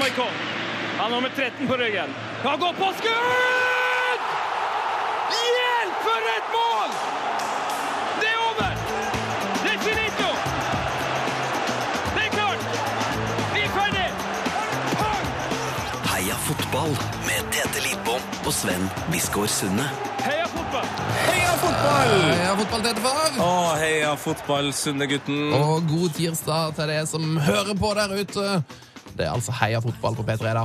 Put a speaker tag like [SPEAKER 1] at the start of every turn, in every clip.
[SPEAKER 1] Novikov. Han har nummer 13 på ryggen. Han går på skudd! Hjelp, for et mål! Det er over! Det er finito! Det er klart! Vi er ferdig!
[SPEAKER 2] Heia fotball med Tete Lidbom og Sven Biskår Sunde.
[SPEAKER 1] Heia fotball!
[SPEAKER 3] Heia fotball!
[SPEAKER 4] Heia fotball til far!
[SPEAKER 3] Å, heia fotball, Sundegutten.
[SPEAKER 4] Og god tirsdag til deg som hører på der ute. Det er altså Heia fotball på P3 da.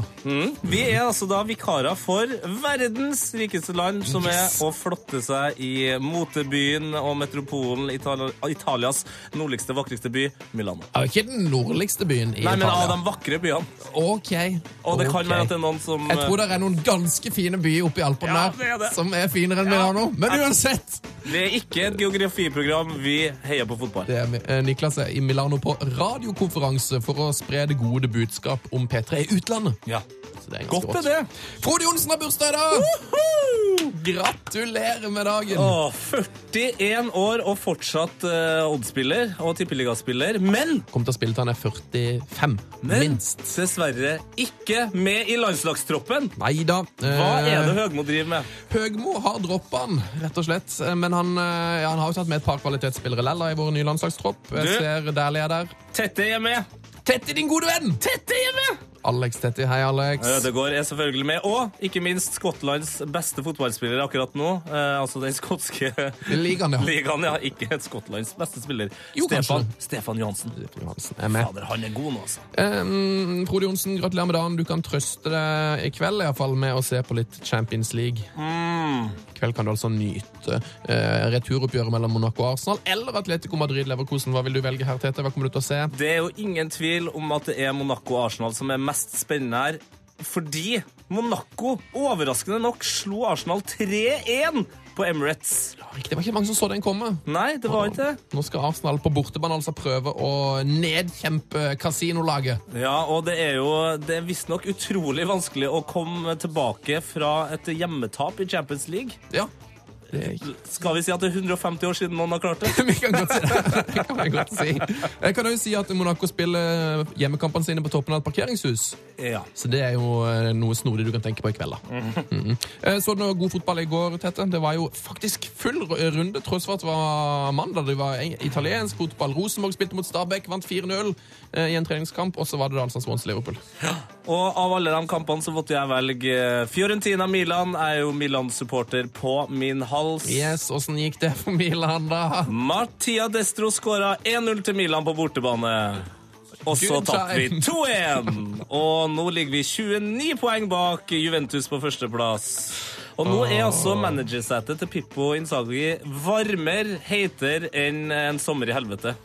[SPEAKER 3] Vi er altså da vikarer for verdens rikeste land, som
[SPEAKER 4] Yes.
[SPEAKER 3] er å flotte seg i motebyen og metropolen Itali Italias nordligste, vakreste by, Milano.
[SPEAKER 4] Det er ikke den nordligste byen i
[SPEAKER 3] Nei, men av de
[SPEAKER 4] Italia.
[SPEAKER 3] vakre byene.
[SPEAKER 4] Ok.
[SPEAKER 3] Og det
[SPEAKER 4] ok.
[SPEAKER 3] kan være at det er noen som
[SPEAKER 4] Jeg tror det er noen ganske fine byer oppe i Alpene
[SPEAKER 3] Ja,
[SPEAKER 4] der,
[SPEAKER 3] det er det.
[SPEAKER 4] som er finere enn Milano. Men
[SPEAKER 3] Jeg-
[SPEAKER 4] uansett!
[SPEAKER 3] Det er ikke et geografiprogram. Vi heier på fotball.
[SPEAKER 4] Det er eh, Niklas er i Milano på radiokonferanse for å spre det gode budskap om P3 i utlandet.
[SPEAKER 3] Ja.
[SPEAKER 4] Så det er ganske
[SPEAKER 3] Godt er det.
[SPEAKER 4] Frode Johnsen har bursdag i dag! Gratulerer med dagen!
[SPEAKER 3] Åh, 41 år og fortsatt uh, oddspiller og tippeligaspiller. Men
[SPEAKER 4] Kommer til å spille til han er 45,
[SPEAKER 3] Men
[SPEAKER 4] minst.
[SPEAKER 3] dessverre ikke med i landslagstroppen.
[SPEAKER 4] Nei da. Eh,
[SPEAKER 3] Hva er det Høgmo driver med?
[SPEAKER 4] Høgmo har droppa han, rett og slett. Eh, Men han, eh, ja, han har jo tatt med et par kvalitetsspillere lella i vår nye landslagstropp. Jeg
[SPEAKER 3] Du.
[SPEAKER 4] ser Dæhlie er der.
[SPEAKER 3] Tette er med.
[SPEAKER 4] Tetti, din gode venn!
[SPEAKER 3] Tette er med!
[SPEAKER 4] Alex Tetti. Hei, Alex.
[SPEAKER 3] Ødegaard er selvfølgelig med. Og ikke minst Skottlands beste fotballspiller akkurat nå. Eh, altså den skotske
[SPEAKER 4] Ligaen, ja.
[SPEAKER 3] ligaen, ja. Ikke Skottlands beste spiller.
[SPEAKER 4] Jo,
[SPEAKER 3] Stefan,
[SPEAKER 4] kanskje.
[SPEAKER 3] Stefan Johansen.
[SPEAKER 4] Johansen er med.
[SPEAKER 3] Fader, han er god nå, altså.
[SPEAKER 4] Um, Frode Johnsen, gratulerer med dagen. Du kan trøste deg i kveld i hvert fall, med å se på litt Champions League.
[SPEAKER 3] Mm.
[SPEAKER 4] I kveld kan du altså nyte eh, returoppgjøret mellom Monaco og Arsenal eller Atletico Madrid-Leverkosen. Hva vil du velge her, Tete? Hva kommer du til å se?
[SPEAKER 3] Det er jo ingen tvil om at det er Monaco og Arsenal som er mest spennende her. Fordi Monaco overraskende nok slo Arsenal 3-1 på Emirates.
[SPEAKER 4] Riktig, Det var ikke mange som så den komme.
[SPEAKER 3] Nei, det var ikke det.
[SPEAKER 4] Nå skal Arsenal på bortebane altså prøve å nedkjempe kasinolaget.
[SPEAKER 3] Ja, og det er jo det er visstnok utrolig vanskelig å komme tilbake fra et hjemmetap i Champions League.
[SPEAKER 4] Ja. Det er ikke
[SPEAKER 3] Skal vi si at det er 150 år siden noen har klart det?
[SPEAKER 4] vi kan godt si det. det kan jeg, godt si. jeg kan jo si at Monaco spiller hjemmekampene sine på toppen av et parkeringshus.
[SPEAKER 3] Ja.
[SPEAKER 4] Så det er jo eh, noe snodig du kan tenke på i kveld, da. Mhm. Eh, Så du noe god fotball i går, Tete? Det var jo faktisk full ru- runde, tross for at det var mandag. Det var eng- italiensk fotball. Rosenborg spilte mot Stabæk, vant 4-0 eh, i en treningskamp, og så var det da altså Swansea-Liverpool.
[SPEAKER 3] Og av alle de kampene så måtte jeg velge Fiorentina-Milan. Jeg er jo Milan-supporter på min hals.
[SPEAKER 4] Yes, åssen gikk det for Milan, da?
[SPEAKER 3] Martia Destro skåra 1-0 til Milan på bortebane. Og så
[SPEAKER 4] Good
[SPEAKER 3] tapte vi
[SPEAKER 4] time.
[SPEAKER 3] 2-1. Og nå ligger vi 29 poeng bak Juventus på førsteplass. Og nå er altså managersetet til Pippo Inzaghi varmere, heitere enn en sommer i helvete.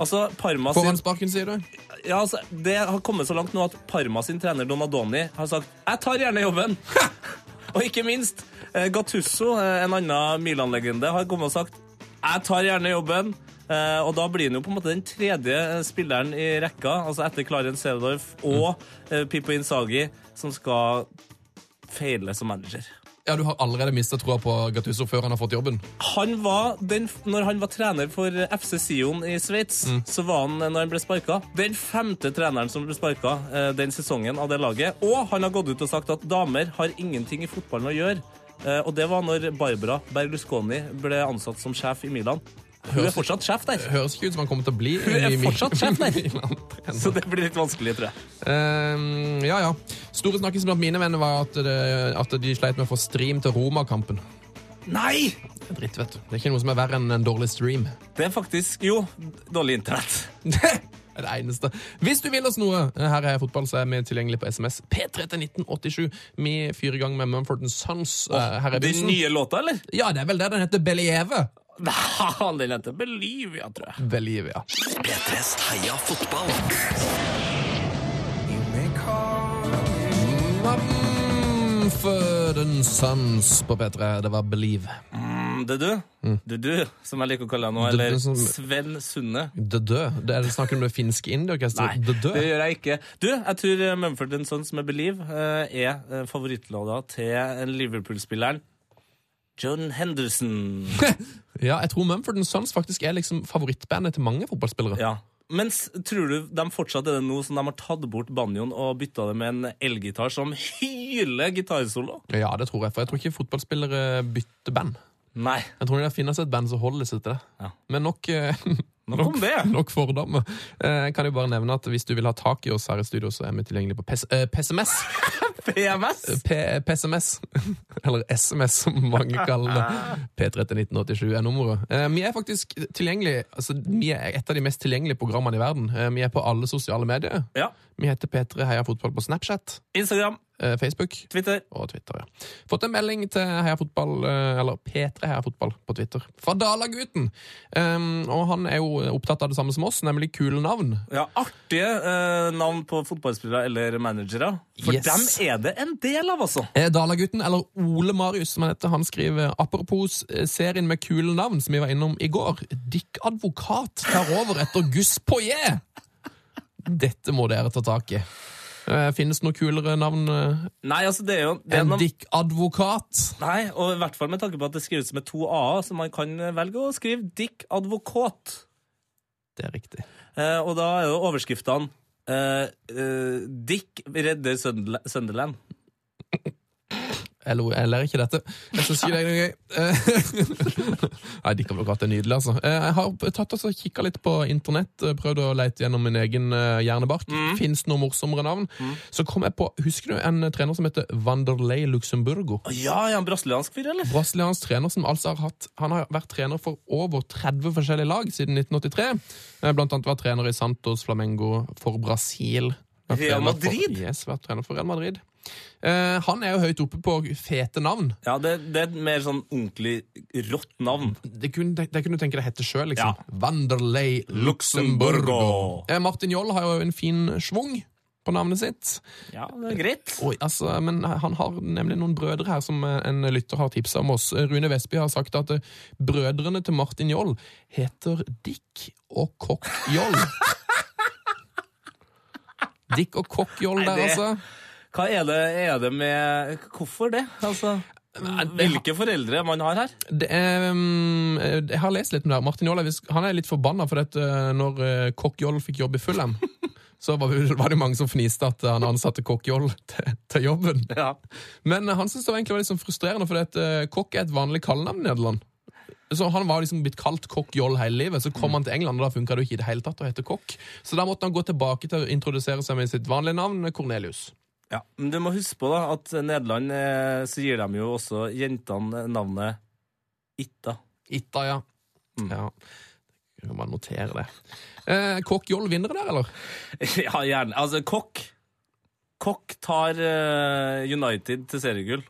[SPEAKER 3] Altså, Parma sin,
[SPEAKER 4] Foran sparken, sier du?
[SPEAKER 3] ja, altså, Det har kommet så langt nå at Parma sin trener Donadoni har sagt 'Jeg tar gjerne jobben'. og ikke minst eh, Gattusso, eh, en annen Milan-legende, har kommet og sagt 'Jeg tar gjerne jobben'. Eh, og da blir han jo på en måte den tredje eh, spilleren i rekka, altså etter Clarence Seedorf og eh, Pippo Inzaghi, som skal feile som manager.
[SPEAKER 4] Ja, du har allerede mista troa på Gattuso før han har fått jobben.
[SPEAKER 3] han var den, når han var trener for FC Sion i Sveits, så var han, eh, når han ble sparka, den femte treneren som ble sparka eh, den sesongen av det laget. Og han har gått ut og sagt at damer har ingenting i fotballen å gjøre. Eh, og det var når Barbara Berlusconi ble ansatt som sjef i Milan. Hun er fortsatt sjef der,
[SPEAKER 4] Høres ikke ut som han kommer til å bli
[SPEAKER 3] er
[SPEAKER 4] i Mi-
[SPEAKER 3] fortsatt sjef der.
[SPEAKER 4] Milan-trener.
[SPEAKER 3] så det blir litt vanskelig, tror jeg.
[SPEAKER 4] Ehm, ja, ja. Store snakkisen blant mine venner var at, det, at de sleit med å få stream til Roma-kampen.
[SPEAKER 3] Nei!
[SPEAKER 4] Det er dritt, vet du. Det er ikke noe som er verre enn en dårlig stream.
[SPEAKER 3] Det er faktisk Jo, dårlig internett.
[SPEAKER 4] Det er det eneste. Hvis du vil oss noe, eh, her er fotball, så er vi tilgjengelig på SMS P3 til 1987. Vi fyrer i gang med Mumford Sons. eh, her er
[SPEAKER 3] Den
[SPEAKER 4] bussen.
[SPEAKER 3] nye låta, eller?
[SPEAKER 4] Ja, det er vel det den heter. Believe.
[SPEAKER 3] Nei, den heter Belivia, tror jeg.
[SPEAKER 4] Believe, ja.
[SPEAKER 2] P3s Heia fotball.
[SPEAKER 4] Mumford Sons på P3. Det var Believe.
[SPEAKER 3] Mm, Det er du. Det er du, som jeg liker å kalle deg nå.
[SPEAKER 4] Det er
[SPEAKER 3] Eller
[SPEAKER 4] du som-
[SPEAKER 3] Sven Sunde.
[SPEAKER 4] The Dø. Det er snakker om det finske
[SPEAKER 3] Nei,
[SPEAKER 4] indieorkesteret. The Dø.
[SPEAKER 3] det gjør jeg ikke. Du, jeg tror eh, Mumford Sons med Believe eh, er eh, favorittlåta til eh, Liverpool-spilleren John Henderson.
[SPEAKER 4] Ja, jeg tror Mumford Sons faktisk er liksom favorittbandet til mange fotballspillere.
[SPEAKER 3] Ja. Mens tror du de fortsatt er det nå som de har tatt bort banjoen og bytta det med en elgitar som hyler gitarsolo?
[SPEAKER 4] Ja, det tror jeg. For jeg tror ikke fotballspillere bytter band.
[SPEAKER 3] Nei.
[SPEAKER 4] Jeg tror det finnes et band som holder seg til det.
[SPEAKER 3] Ja.
[SPEAKER 4] Men nok, eh,
[SPEAKER 3] Nok om det.
[SPEAKER 4] nok fordommer. Eh, Jeg kan jo bare nevne at hvis du vil ha tak i oss her i studio, så er vi tilgjengelig på PS eh, PSMS.
[SPEAKER 3] PMS?
[SPEAKER 4] P PSMS. Eller SMS, som mange kaller det. P31987 er nummeret. Eh, Vi er faktisk tilgjengelig altså, Vi er et av de mest tilgjengelige programmene i verden. Eh, Vi er på alle sosiale medier.
[SPEAKER 3] Ja.
[SPEAKER 4] Vi heter P3 Heia Fotball på Snapchat,
[SPEAKER 3] Instagram,
[SPEAKER 4] eh, Facebook
[SPEAKER 3] Twitter.
[SPEAKER 4] og Twitter. ja. Fått en melding til Heia Fotball, eh, eller P3 Heia Fotball på Twitter, fra Dalagutten. Um, og han er jo opptatt av det samme som oss, nemlig kule navn.
[SPEAKER 3] Ja, Artige eh, navn på fotballspillere eller managere. For
[SPEAKER 4] Yes.
[SPEAKER 3] dem er det en del av, altså.
[SPEAKER 4] Eh, Dalagutten, eller Ole Marius, som han heter, han skriver apropos eh, serien med kule navn som vi var innom i går. Dick Advokat tar over etter Gus Poyet! Dette må dere ta tak i. Eh, Finnes det noe kulere navn eh,
[SPEAKER 3] Nei, altså, det er jo det er
[SPEAKER 4] enn
[SPEAKER 3] noen-
[SPEAKER 4] Dick Advokat?
[SPEAKER 3] Nei, og i hvert fall med tanke på at det skrives med to a-er, så man kan velge å skrive Dick Advokat.
[SPEAKER 4] Det er riktig.
[SPEAKER 3] Eh, og da er jo overskriftene eh, eh, Dick redder Sunderla- Sunderland.
[SPEAKER 4] Jeg, lo, jeg ler ikke dette. Jeg syns ikke det er noe gøy. Eh, Nei, Dick Advokat er nydelig, altså. Eh, Jeg har tatt oss og kikka litt på internett, eh, prøvd å leite gjennom min egen eh, hjernebark.
[SPEAKER 3] Mm.
[SPEAKER 4] Finnes Fins noe morsommere navn? Så kom jeg på Husker du en eh, trener som heter Wanderlei Luxemburgo?
[SPEAKER 3] Å Ja, er han brasiliansk fyr, eller?
[SPEAKER 4] Brasiliansk trener som altså har hatt Han har vært trener for over 30 forskjellige lag siden 1983. Eh, Blant annet vært trener i Santos Flamengo for Brasil. Vært
[SPEAKER 3] Real
[SPEAKER 4] trener for-
[SPEAKER 3] Madrid?
[SPEAKER 4] Yes, vært trener for Real Madrid. Eh, han er jo høyt oppe på fete navn.
[SPEAKER 3] Ja, det, det er et mer sånn ordentlig rått navn.
[SPEAKER 4] Det kunne, det, det kunne du tenke deg hette sjøl, liksom.
[SPEAKER 3] Ja.
[SPEAKER 4] Wanderlei Luxemburgo. Eh, Martin Joll har jo en fin schwung på navnet sitt.
[SPEAKER 3] Ja, det er greit.
[SPEAKER 4] Oi, altså, men han har nemlig noen brødre her som eh, en lytter har tipsa om oss. Rune Vestby har sagt at eh, brødrene til Martin Joll heter Dick og Kokk Joll. Dick og Kokk Joll
[SPEAKER 3] Nei,
[SPEAKER 4] der,
[SPEAKER 3] det-
[SPEAKER 4] altså.
[SPEAKER 3] Hva er det, er det med Hvorfor det? Altså, hvilke foreldre man har her?
[SPEAKER 4] det er, um, jeg har lest litt om det. her. Martin Joll er visst- han er litt forbanna for at uh, når uh, Kokk Joll fikk jobb i Fulham, så var, var det mange som fniste at eh, han ansatte Kokk Joll til, til jobben.
[SPEAKER 3] Ja.
[SPEAKER 4] Men uh, han syntes det var egentlig var litt sånn frustrerende, for at, uh, Kokk er et vanlig kallenavn i Nederland. Så Han var liksom blitt kalt Kokk Joll hele livet. Så kom han til England, og da funka det jo ikke i det hele tatt å hete Kokk. Så da måtte han gå tilbake til å introdusere seg med sitt vanlige navn, Cornelius.
[SPEAKER 3] Ja, Men du må huske på da at Nederland eh, så gir de jo også jentene navnet Itta.
[SPEAKER 4] Itta, ja. ja. Kan man notere det. Uh, Kokk Joll vinner der, eller?
[SPEAKER 3] ja, gjerne. Altså, Kokk Kokk tar eh, United til seriegull.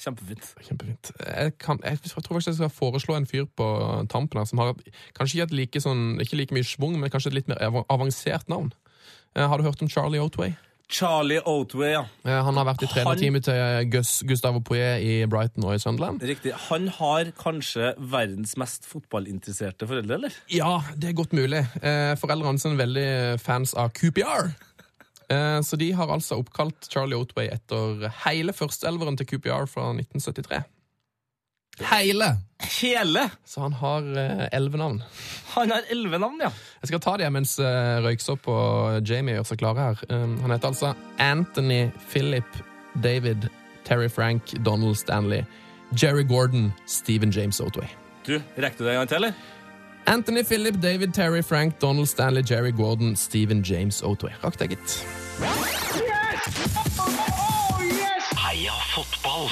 [SPEAKER 3] Kjempefint.
[SPEAKER 4] Kjempefint. Jeg, kan, jeg, tror faktisk jeg skal foreslå en fyr på tampen her som har kanskje ikke et like, sånn, ikke like mye schwung, men kanskje et litt mer av- avansert navn. Eh, Har du hørt om Charlie Otway?
[SPEAKER 3] Charlie Oatway, ja.
[SPEAKER 4] Eh, Han har vært i trenerteamet til eh, Gus, Gustavo Poyet i Brighton og i Sunderland.
[SPEAKER 3] Riktig. Han har kanskje verdens mest fotballinteresserte foreldre, eller?
[SPEAKER 4] Ja, det er godt mulig. Eh, Foreldrene hans er veldig fans av QPR. Eh, Så de har altså oppkalt Charlie Otway etter hele førsteelveren til QPR fra 1973. Hele!
[SPEAKER 3] Hele!
[SPEAKER 4] Så han har eh, elleve navn.
[SPEAKER 3] Han har elleve navn, ja.
[SPEAKER 4] Jeg skal ta det mens eh, Røyksopp og Jamie gjør seg klare her. Um, han heter altså Anthony Philip David Terry Frank Donald Stanley Jerry Gordon Stephen James Otway.
[SPEAKER 3] Du, Rekker du det en gang til, eller?
[SPEAKER 4] Anthony Philip David Terry Frank Donald Stanley Jerry Gordon Stephen James Otway. Rakk det, gitt.
[SPEAKER 2] Heia fotball!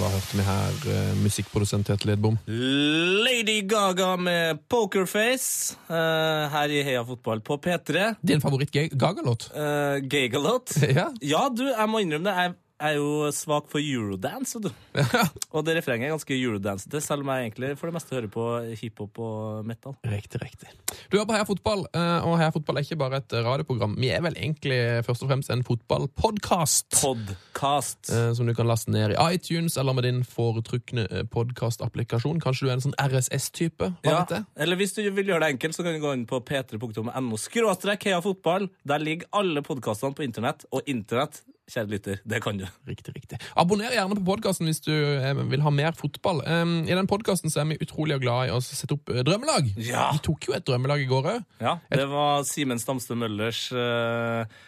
[SPEAKER 4] Da hørte vi her eh, musikkprodusent Tete Lidbom.
[SPEAKER 3] Lady Gaga med Pokerface eh, her i Heia Fotball på P3.
[SPEAKER 4] Din favoritt-Gaga-låt?
[SPEAKER 3] Uh, Gagalot.
[SPEAKER 4] Ja.
[SPEAKER 3] Ja, du, jeg må innrømme det. Jeg er jo svak for eurodance, vet du. Og det refrenget er ganske eurodance-ete, selv om jeg egentlig for det meste hører på hiphop og metal.
[SPEAKER 4] Riktig, riktig. Du hører på Heia Fotball, eh, og Heia Fotball er ikke bare et radioprogram. Vi er vel egentlig først og fremst en fotballpodkast.
[SPEAKER 3] Podcast.
[SPEAKER 4] eh, som du kan laste ned i iTunes eller med din foretrukne podkastapplikasjon. Kanskje du er en sånn RSS-type? Hva
[SPEAKER 3] Ja,
[SPEAKER 4] vet jeg?
[SPEAKER 3] eller hvis du vil gjøre det enkelt, så kan du gå inn på p3.no skråstrek heia fotball. Der ligger alle podkastene på internett, og internett kjære lytter, det kan du.
[SPEAKER 4] Riktig, riktig. Abonner gjerne på podkasten hvis du eh, vil ha mer fotball. Em, I den podkasten er vi utrolig glad i å sette opp eh, drømmelag.
[SPEAKER 3] Ja.
[SPEAKER 4] Vi tok jo et drømmelag i går òg.
[SPEAKER 3] Ja, det var Simen Stamstø Møllers eh,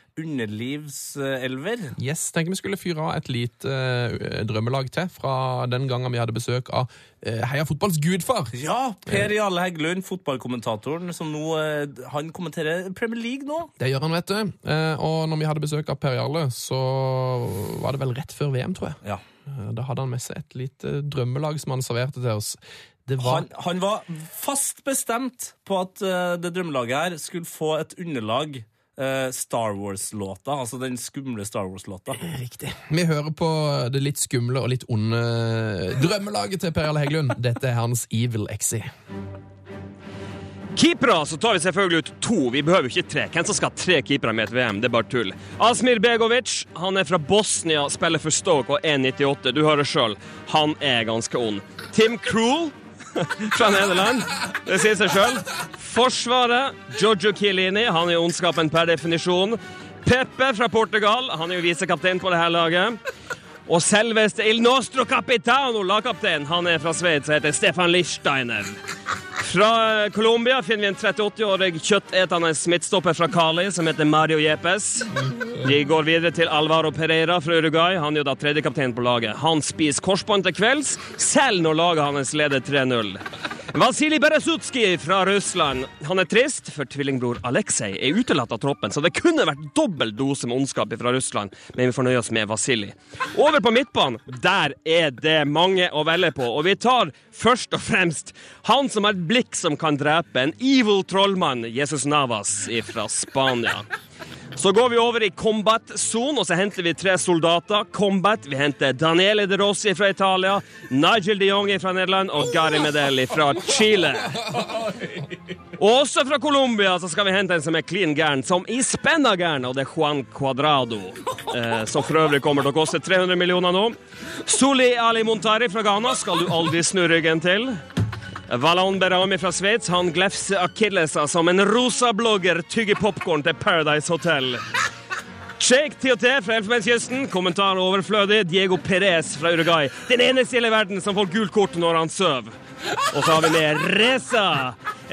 [SPEAKER 3] underlivselver.
[SPEAKER 4] Yes, tenker vi skulle fyre av et lite eh, drømmelag til fra den gangen vi hadde besøk av eh, Heia fotballs gudfar.
[SPEAKER 3] Ja, Per Jarle Heggelund, fotballkommentatoren, som nå eh, Han kommenterer Premier League nå.
[SPEAKER 4] Det gjør han, vet du. Eh, Og når vi hadde besøk av Per Jarle, så var det vel rett før VM, tror jeg.
[SPEAKER 3] Ja.
[SPEAKER 4] Eh, Da hadde han med seg et lite drømmelag som han serverte til oss. Det var
[SPEAKER 3] Han, han var fast bestemt på at eh, det drømmelaget her skulle få et underlag eh, Star Wars-låta, altså den skumle Star Wars-låta.
[SPEAKER 4] Riktig. Vi hører på det litt skumle og litt onde drømmelaget til Per Jarle Heggelund. Dette er hans Evil Exi.
[SPEAKER 5] Keepere så tar vi selvfølgelig ut to. Vi behøver jo ikke tre. Hvem som skal ha tre keepere med et VM? Det er bare tull. Asmir Begovic han er fra Bosnia, spiller for Stoke og er 1,98. Du hører sjøl, han er ganske ond. Tim Krul fra Nederland. Det sier seg sjøl. Forsvaret, Giorgio Chiellini. Han er ondskapen per definisjon. Pepe fra Portugal. Han er jo visekaptein på det her laget. Og selveste Il Nostro Capitano, lagkaptein, han er fra Sveits og heter Stefan Lichsteiner. Fra eh, Colombia finner vi en 38-årig kjøttetende midtstopper fra Cali som heter Mario Jepes. De går videre til Alvaro Pereira fra Uruguay. Han er jo da tredjekaptein på laget. Han spiser korsbånd til kvelds, selv når laget hans leder 3-0. Vasilij Beresutskij fra Russland. Han er trist, for tvillingbror Aleksej er utelatt av troppen, så det kunne vært dobbel dose med ondskap fra Russland, men vi får nøye oss med Vasilij. Over på midtbanen, der er det mange å velge på, og vi tar først og fremst han som har et blikk som kan drepe, en evil trollmann, Jesus Navas fra Spania. Så går vi over i combat-sonen, og så henter vi tre soldater. Combat, Vi henter Daniele De Rossi fra Italia, Nigel de Jong fra Nederland og Gary Medelli fra Chile. Og også fra Colombia så skal vi hente en som er klin gæren, som i spenn er gæren, og det er Juan Cuadrado. Eh, som for øvrig kommer til å koste 300 millioner nå. Soli Ali Montari fra Ghana skal du aldri snu ryggen til. Valon Berami fra Sveits han glefser akilleser som en rosa blogger tygger popkorn til Paradise Hotel. Cheikh Tioté fra Elfenbenskysten. Kommentar overflødig. Diego Perez fra Uruguay. Den eneste i hele verden som får gult kort når han sover. Og så har vi med Reza.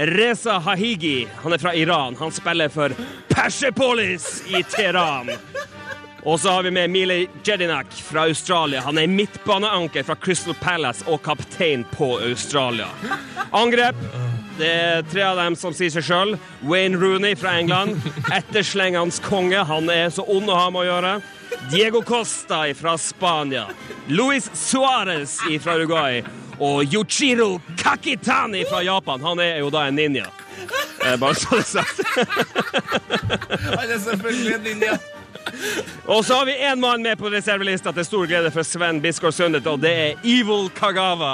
[SPEAKER 5] Reza Hahigi. Han er fra Iran. Han spiller for Persepolis i Teheran. Og så har vi med Mile Jedinak fra Australia. Han er midtbaneanker fra Crystal Palace og kaptein på Australia. Angrep. Det er tre av dem som sier seg sjøl. Wayne Rooney fra England. Etterslengens konge. Han er så ond å ha med å gjøre. Diego Costa fra Spania. Luis Suárez fra Uruguay. Og Yuchiro Kakitani fra Japan. Han er jo da en ninja. Eh, Bare så det er sagt.
[SPEAKER 3] Han er selvfølgelig en ninja.
[SPEAKER 5] Og så har vi én mann med på reservelista til stor glede for Sven Biskår Sundet, og det er Evil Kagawa.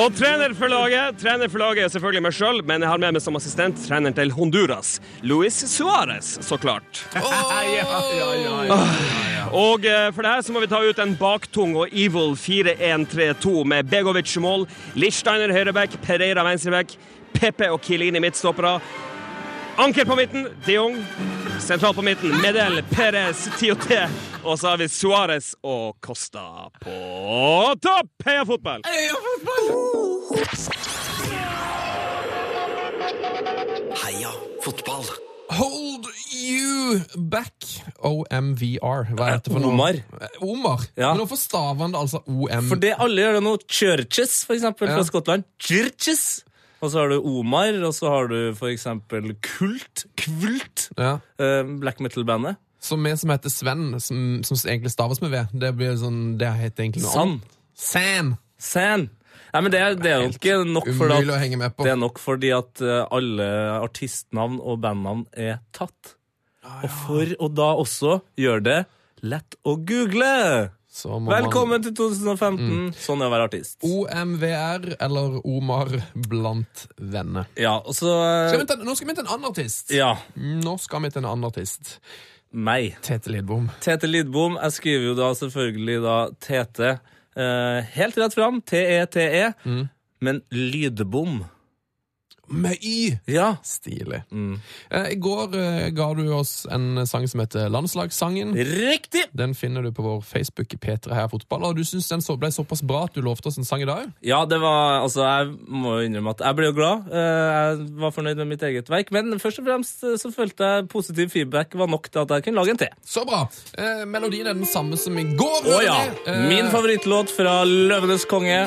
[SPEAKER 5] og trener for laget Trener for laget er selvfølgelig meg sjøl, men jeg har med meg som assistent treneren til Honduras, Luis Suárez, så klart. Og eh, for det her så må vi ta ut en baktung og Evil 4-1-3-2 med Begovic i mål, Lichsteiner høyreback, Pereira venstreback, Pepe og Kilini midtstoppere. Anker på midten, de Jong. Sentralt på midten, Medel, Perez, Tioté. Og så har vi Suárez og Costa på topp! Heia fotball!
[SPEAKER 2] Heia fotball.
[SPEAKER 4] Hold you back. OMVR. Hva er dette for noe?
[SPEAKER 3] Omar.
[SPEAKER 4] Eh, Omar?
[SPEAKER 3] Ja.
[SPEAKER 4] Men hvorfor staver han det altså OM?
[SPEAKER 3] For det alle gjør det nå, churches, for eksempel,
[SPEAKER 4] Ja.
[SPEAKER 3] fra Skottland. Churches! Og så har du Omar, og så har du for eksempel Kult. Kvult.
[SPEAKER 4] Ja.
[SPEAKER 3] eh, black metal-bandet.
[SPEAKER 4] Så vi som heter Sven, som, som egentlig staves med V, det blir sånn Det heter egentlig noe
[SPEAKER 3] Sand.
[SPEAKER 4] annet. Sam.
[SPEAKER 3] Sand. Nei, men det er, det er jo ikke nok for
[SPEAKER 4] Umulig å
[SPEAKER 3] at,
[SPEAKER 4] henge med på.
[SPEAKER 3] det er nok fordi at eh, alle artistnavn og bandnavn er tatt.
[SPEAKER 4] Ah,
[SPEAKER 3] Og for å da også gjøre det lett å google!
[SPEAKER 4] Så må man- Mm.
[SPEAKER 3] Velkommen til 2015! Sånn er å være artist.
[SPEAKER 4] OMVR eller Omar blant venner.
[SPEAKER 3] Ja, og så
[SPEAKER 4] Skal
[SPEAKER 3] eh,
[SPEAKER 4] vi til, nå skal vi til en annen artist.
[SPEAKER 3] Ja,
[SPEAKER 4] Nå skal vi til en annen artist.
[SPEAKER 3] meg.
[SPEAKER 4] Tete Lidbom.
[SPEAKER 3] Tete Lidbom. Jeg skriver jo da selvfølgelig da Tete E
[SPEAKER 4] Mm.
[SPEAKER 3] eh, helt rett fram. T-E-T-E. Men lydbom.
[SPEAKER 4] med Y.
[SPEAKER 3] Ja.
[SPEAKER 4] Stilig.
[SPEAKER 3] Mm.
[SPEAKER 4] Eh, I går eh, ga du oss en sang som heter Landslagssangen.
[SPEAKER 3] Riktig!
[SPEAKER 4] Den finner du på vår Facebook i P3 Heia Fotball. Og du syns den så, ble såpass bra at du lovte oss en sang i dag?
[SPEAKER 3] Ja, det var Altså, jeg må jo innrømme at jeg ble jo glad. Eh, Jeg var fornøyd med mitt eget verk. Men først og fremst eh, så følte jeg positiv feedback var nok til at jeg kunne lage en til.
[SPEAKER 4] Så bra! Eh, melodien er den samme som i går.
[SPEAKER 3] Å ja!
[SPEAKER 4] Eh,
[SPEAKER 3] Min favorittlåt fra Løvenes konge.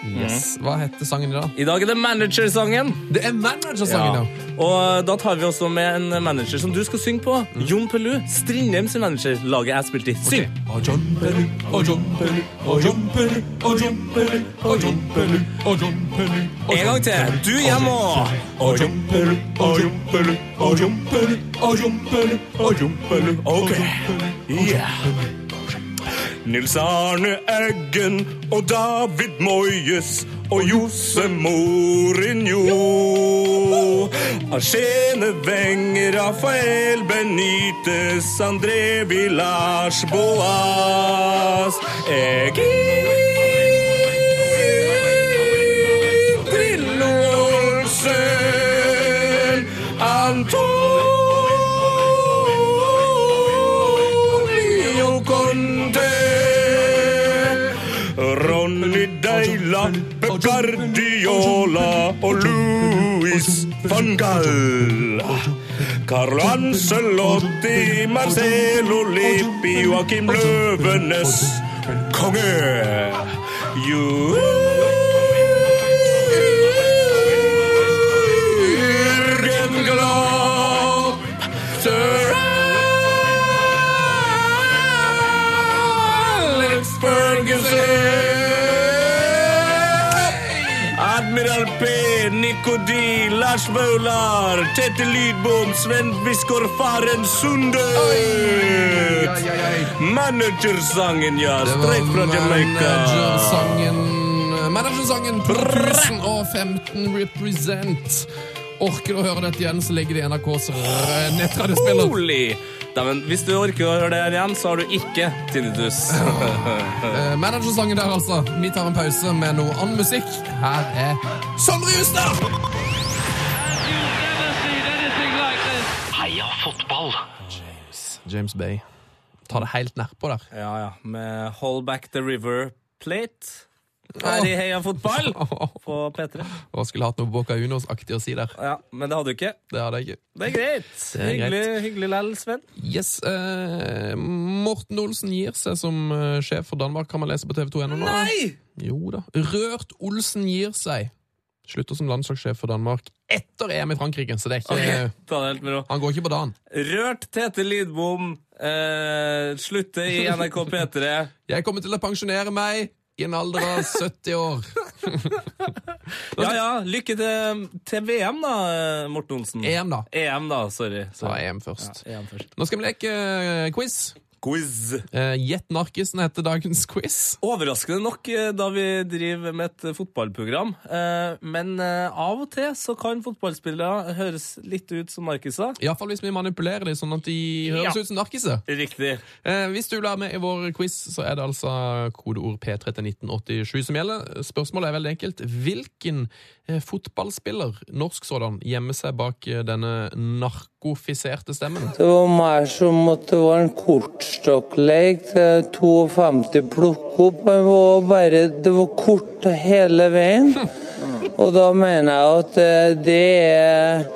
[SPEAKER 4] yes. Hva heter sangen i dag?
[SPEAKER 3] I dag er det managersangen.
[SPEAKER 4] Det er managersangen, ja.
[SPEAKER 3] Og eh, da tar vi også med en manager som du skal synge på.
[SPEAKER 4] Mm.
[SPEAKER 3] Jon Pelu. Strindheim sin manager, laget jeg spilte i. Syng!
[SPEAKER 4] Og jumpelu, og jumpelu, og jumpelu, og jumpelu, og jumpelu, og jumpelu, og
[SPEAKER 3] En gang til. Du hjemme òg.
[SPEAKER 4] Og jumpelu, og jumpelu, og jumpelu, og jumpelu, og jumpelu.
[SPEAKER 3] Ok. Yeah. Nils Arne Eggen og David Moyes og Jose Mourinho. Arsene Wenger, Rafael Benitez, André Villars Boas. Egil Drillo Olsen. Antonio Conte. Ronny Deila, Pep Guardiola og Louis van Gaal. Carlo Ancelotti, Marcelo Lippi, Joakim Løvenes konge. Jørgen Glopp, Sir Alex Ferguson! Admiral P, Nico D, Lars Vaular, Tete Lydbom, Sven Biskår Faren Sundet! Managersangen, ja. Straight fra Jamaica.
[SPEAKER 4] Managersangen Managersangen 2015 represent. Orker du å høre dette igjen, så ligger det i NRKs r- nettradiospiller.
[SPEAKER 3] Holy! Dæven, hvis du orker å høre det her igjen, så har du ikke tinnitus.
[SPEAKER 4] Eh, Managersangen der, altså. Vi tar en pause med noe annen musikk. Her er Sondre Justad!
[SPEAKER 2] Heia fotball!
[SPEAKER 4] James Bay. Ta det helt nedpå der.
[SPEAKER 3] Ja, ja. Med Hold Back The River Plate. Her i Heia Fotball på P3.
[SPEAKER 4] Og skulle hatt noe Boca Unos-aktig å si der.
[SPEAKER 3] Ja, Men det hadde du ikke.
[SPEAKER 4] Det hadde jeg ikke.
[SPEAKER 3] Det er greit.
[SPEAKER 4] er greit.
[SPEAKER 3] Hyggelig, hyggelig lell, Sven.
[SPEAKER 4] Yes, eh, Morten Olsen gir seg som eh, sjef for Danmark, kan man lese på tv2.no nå. Jo da. Rørt Olsen gir seg. Slutter som landslagssjef for Danmark etter EM i Frankrike, så det er ikke eh,
[SPEAKER 3] Ok, Ta det helt med ro.
[SPEAKER 4] Han går ikke på dagen.
[SPEAKER 3] Rørt Tete Lidbom. Eh, slutte i NRK P3.
[SPEAKER 4] Jeg kommer til å pensjonere meg i en alder av 70 år.
[SPEAKER 3] Ja ja, lykke til, til VM, da, eh, Morten Olsen.
[SPEAKER 4] EM, da.
[SPEAKER 3] EM, da. Sorry.
[SPEAKER 4] Ta
[SPEAKER 3] sorry.
[SPEAKER 4] EM først.
[SPEAKER 3] EM først.
[SPEAKER 4] Nå skal vi leke eh, quiz.
[SPEAKER 3] Quiz.
[SPEAKER 4] Eh, Gjett narkisen heter dagens quiz.
[SPEAKER 3] Overraskende nok eh, da vi driver med et eh, fotballprogram. Eh, Men eh, av og til så kan fotballspillere høres litt ut som narkiser.
[SPEAKER 4] Iallfall hvis vi manipulerer dem sånn at de høres
[SPEAKER 3] Ja.
[SPEAKER 4] ut som narkiser.
[SPEAKER 3] Riktig.
[SPEAKER 4] Eh, hvis du vil være med i vår quiz, så er det altså kodeord P3 til 1987 som gjelder. Spørsmålet er veldig enkelt. Hvilken eh, fotballspiller, norsk sådan, gjemmer seg bak eh, denne narkofiserte stemmen?
[SPEAKER 6] Det var meg som måtte være en kortstokkleik. Det er 52 plukk opp. men Det var bare Det var kort hele veien. Og da mener jeg at eh, det er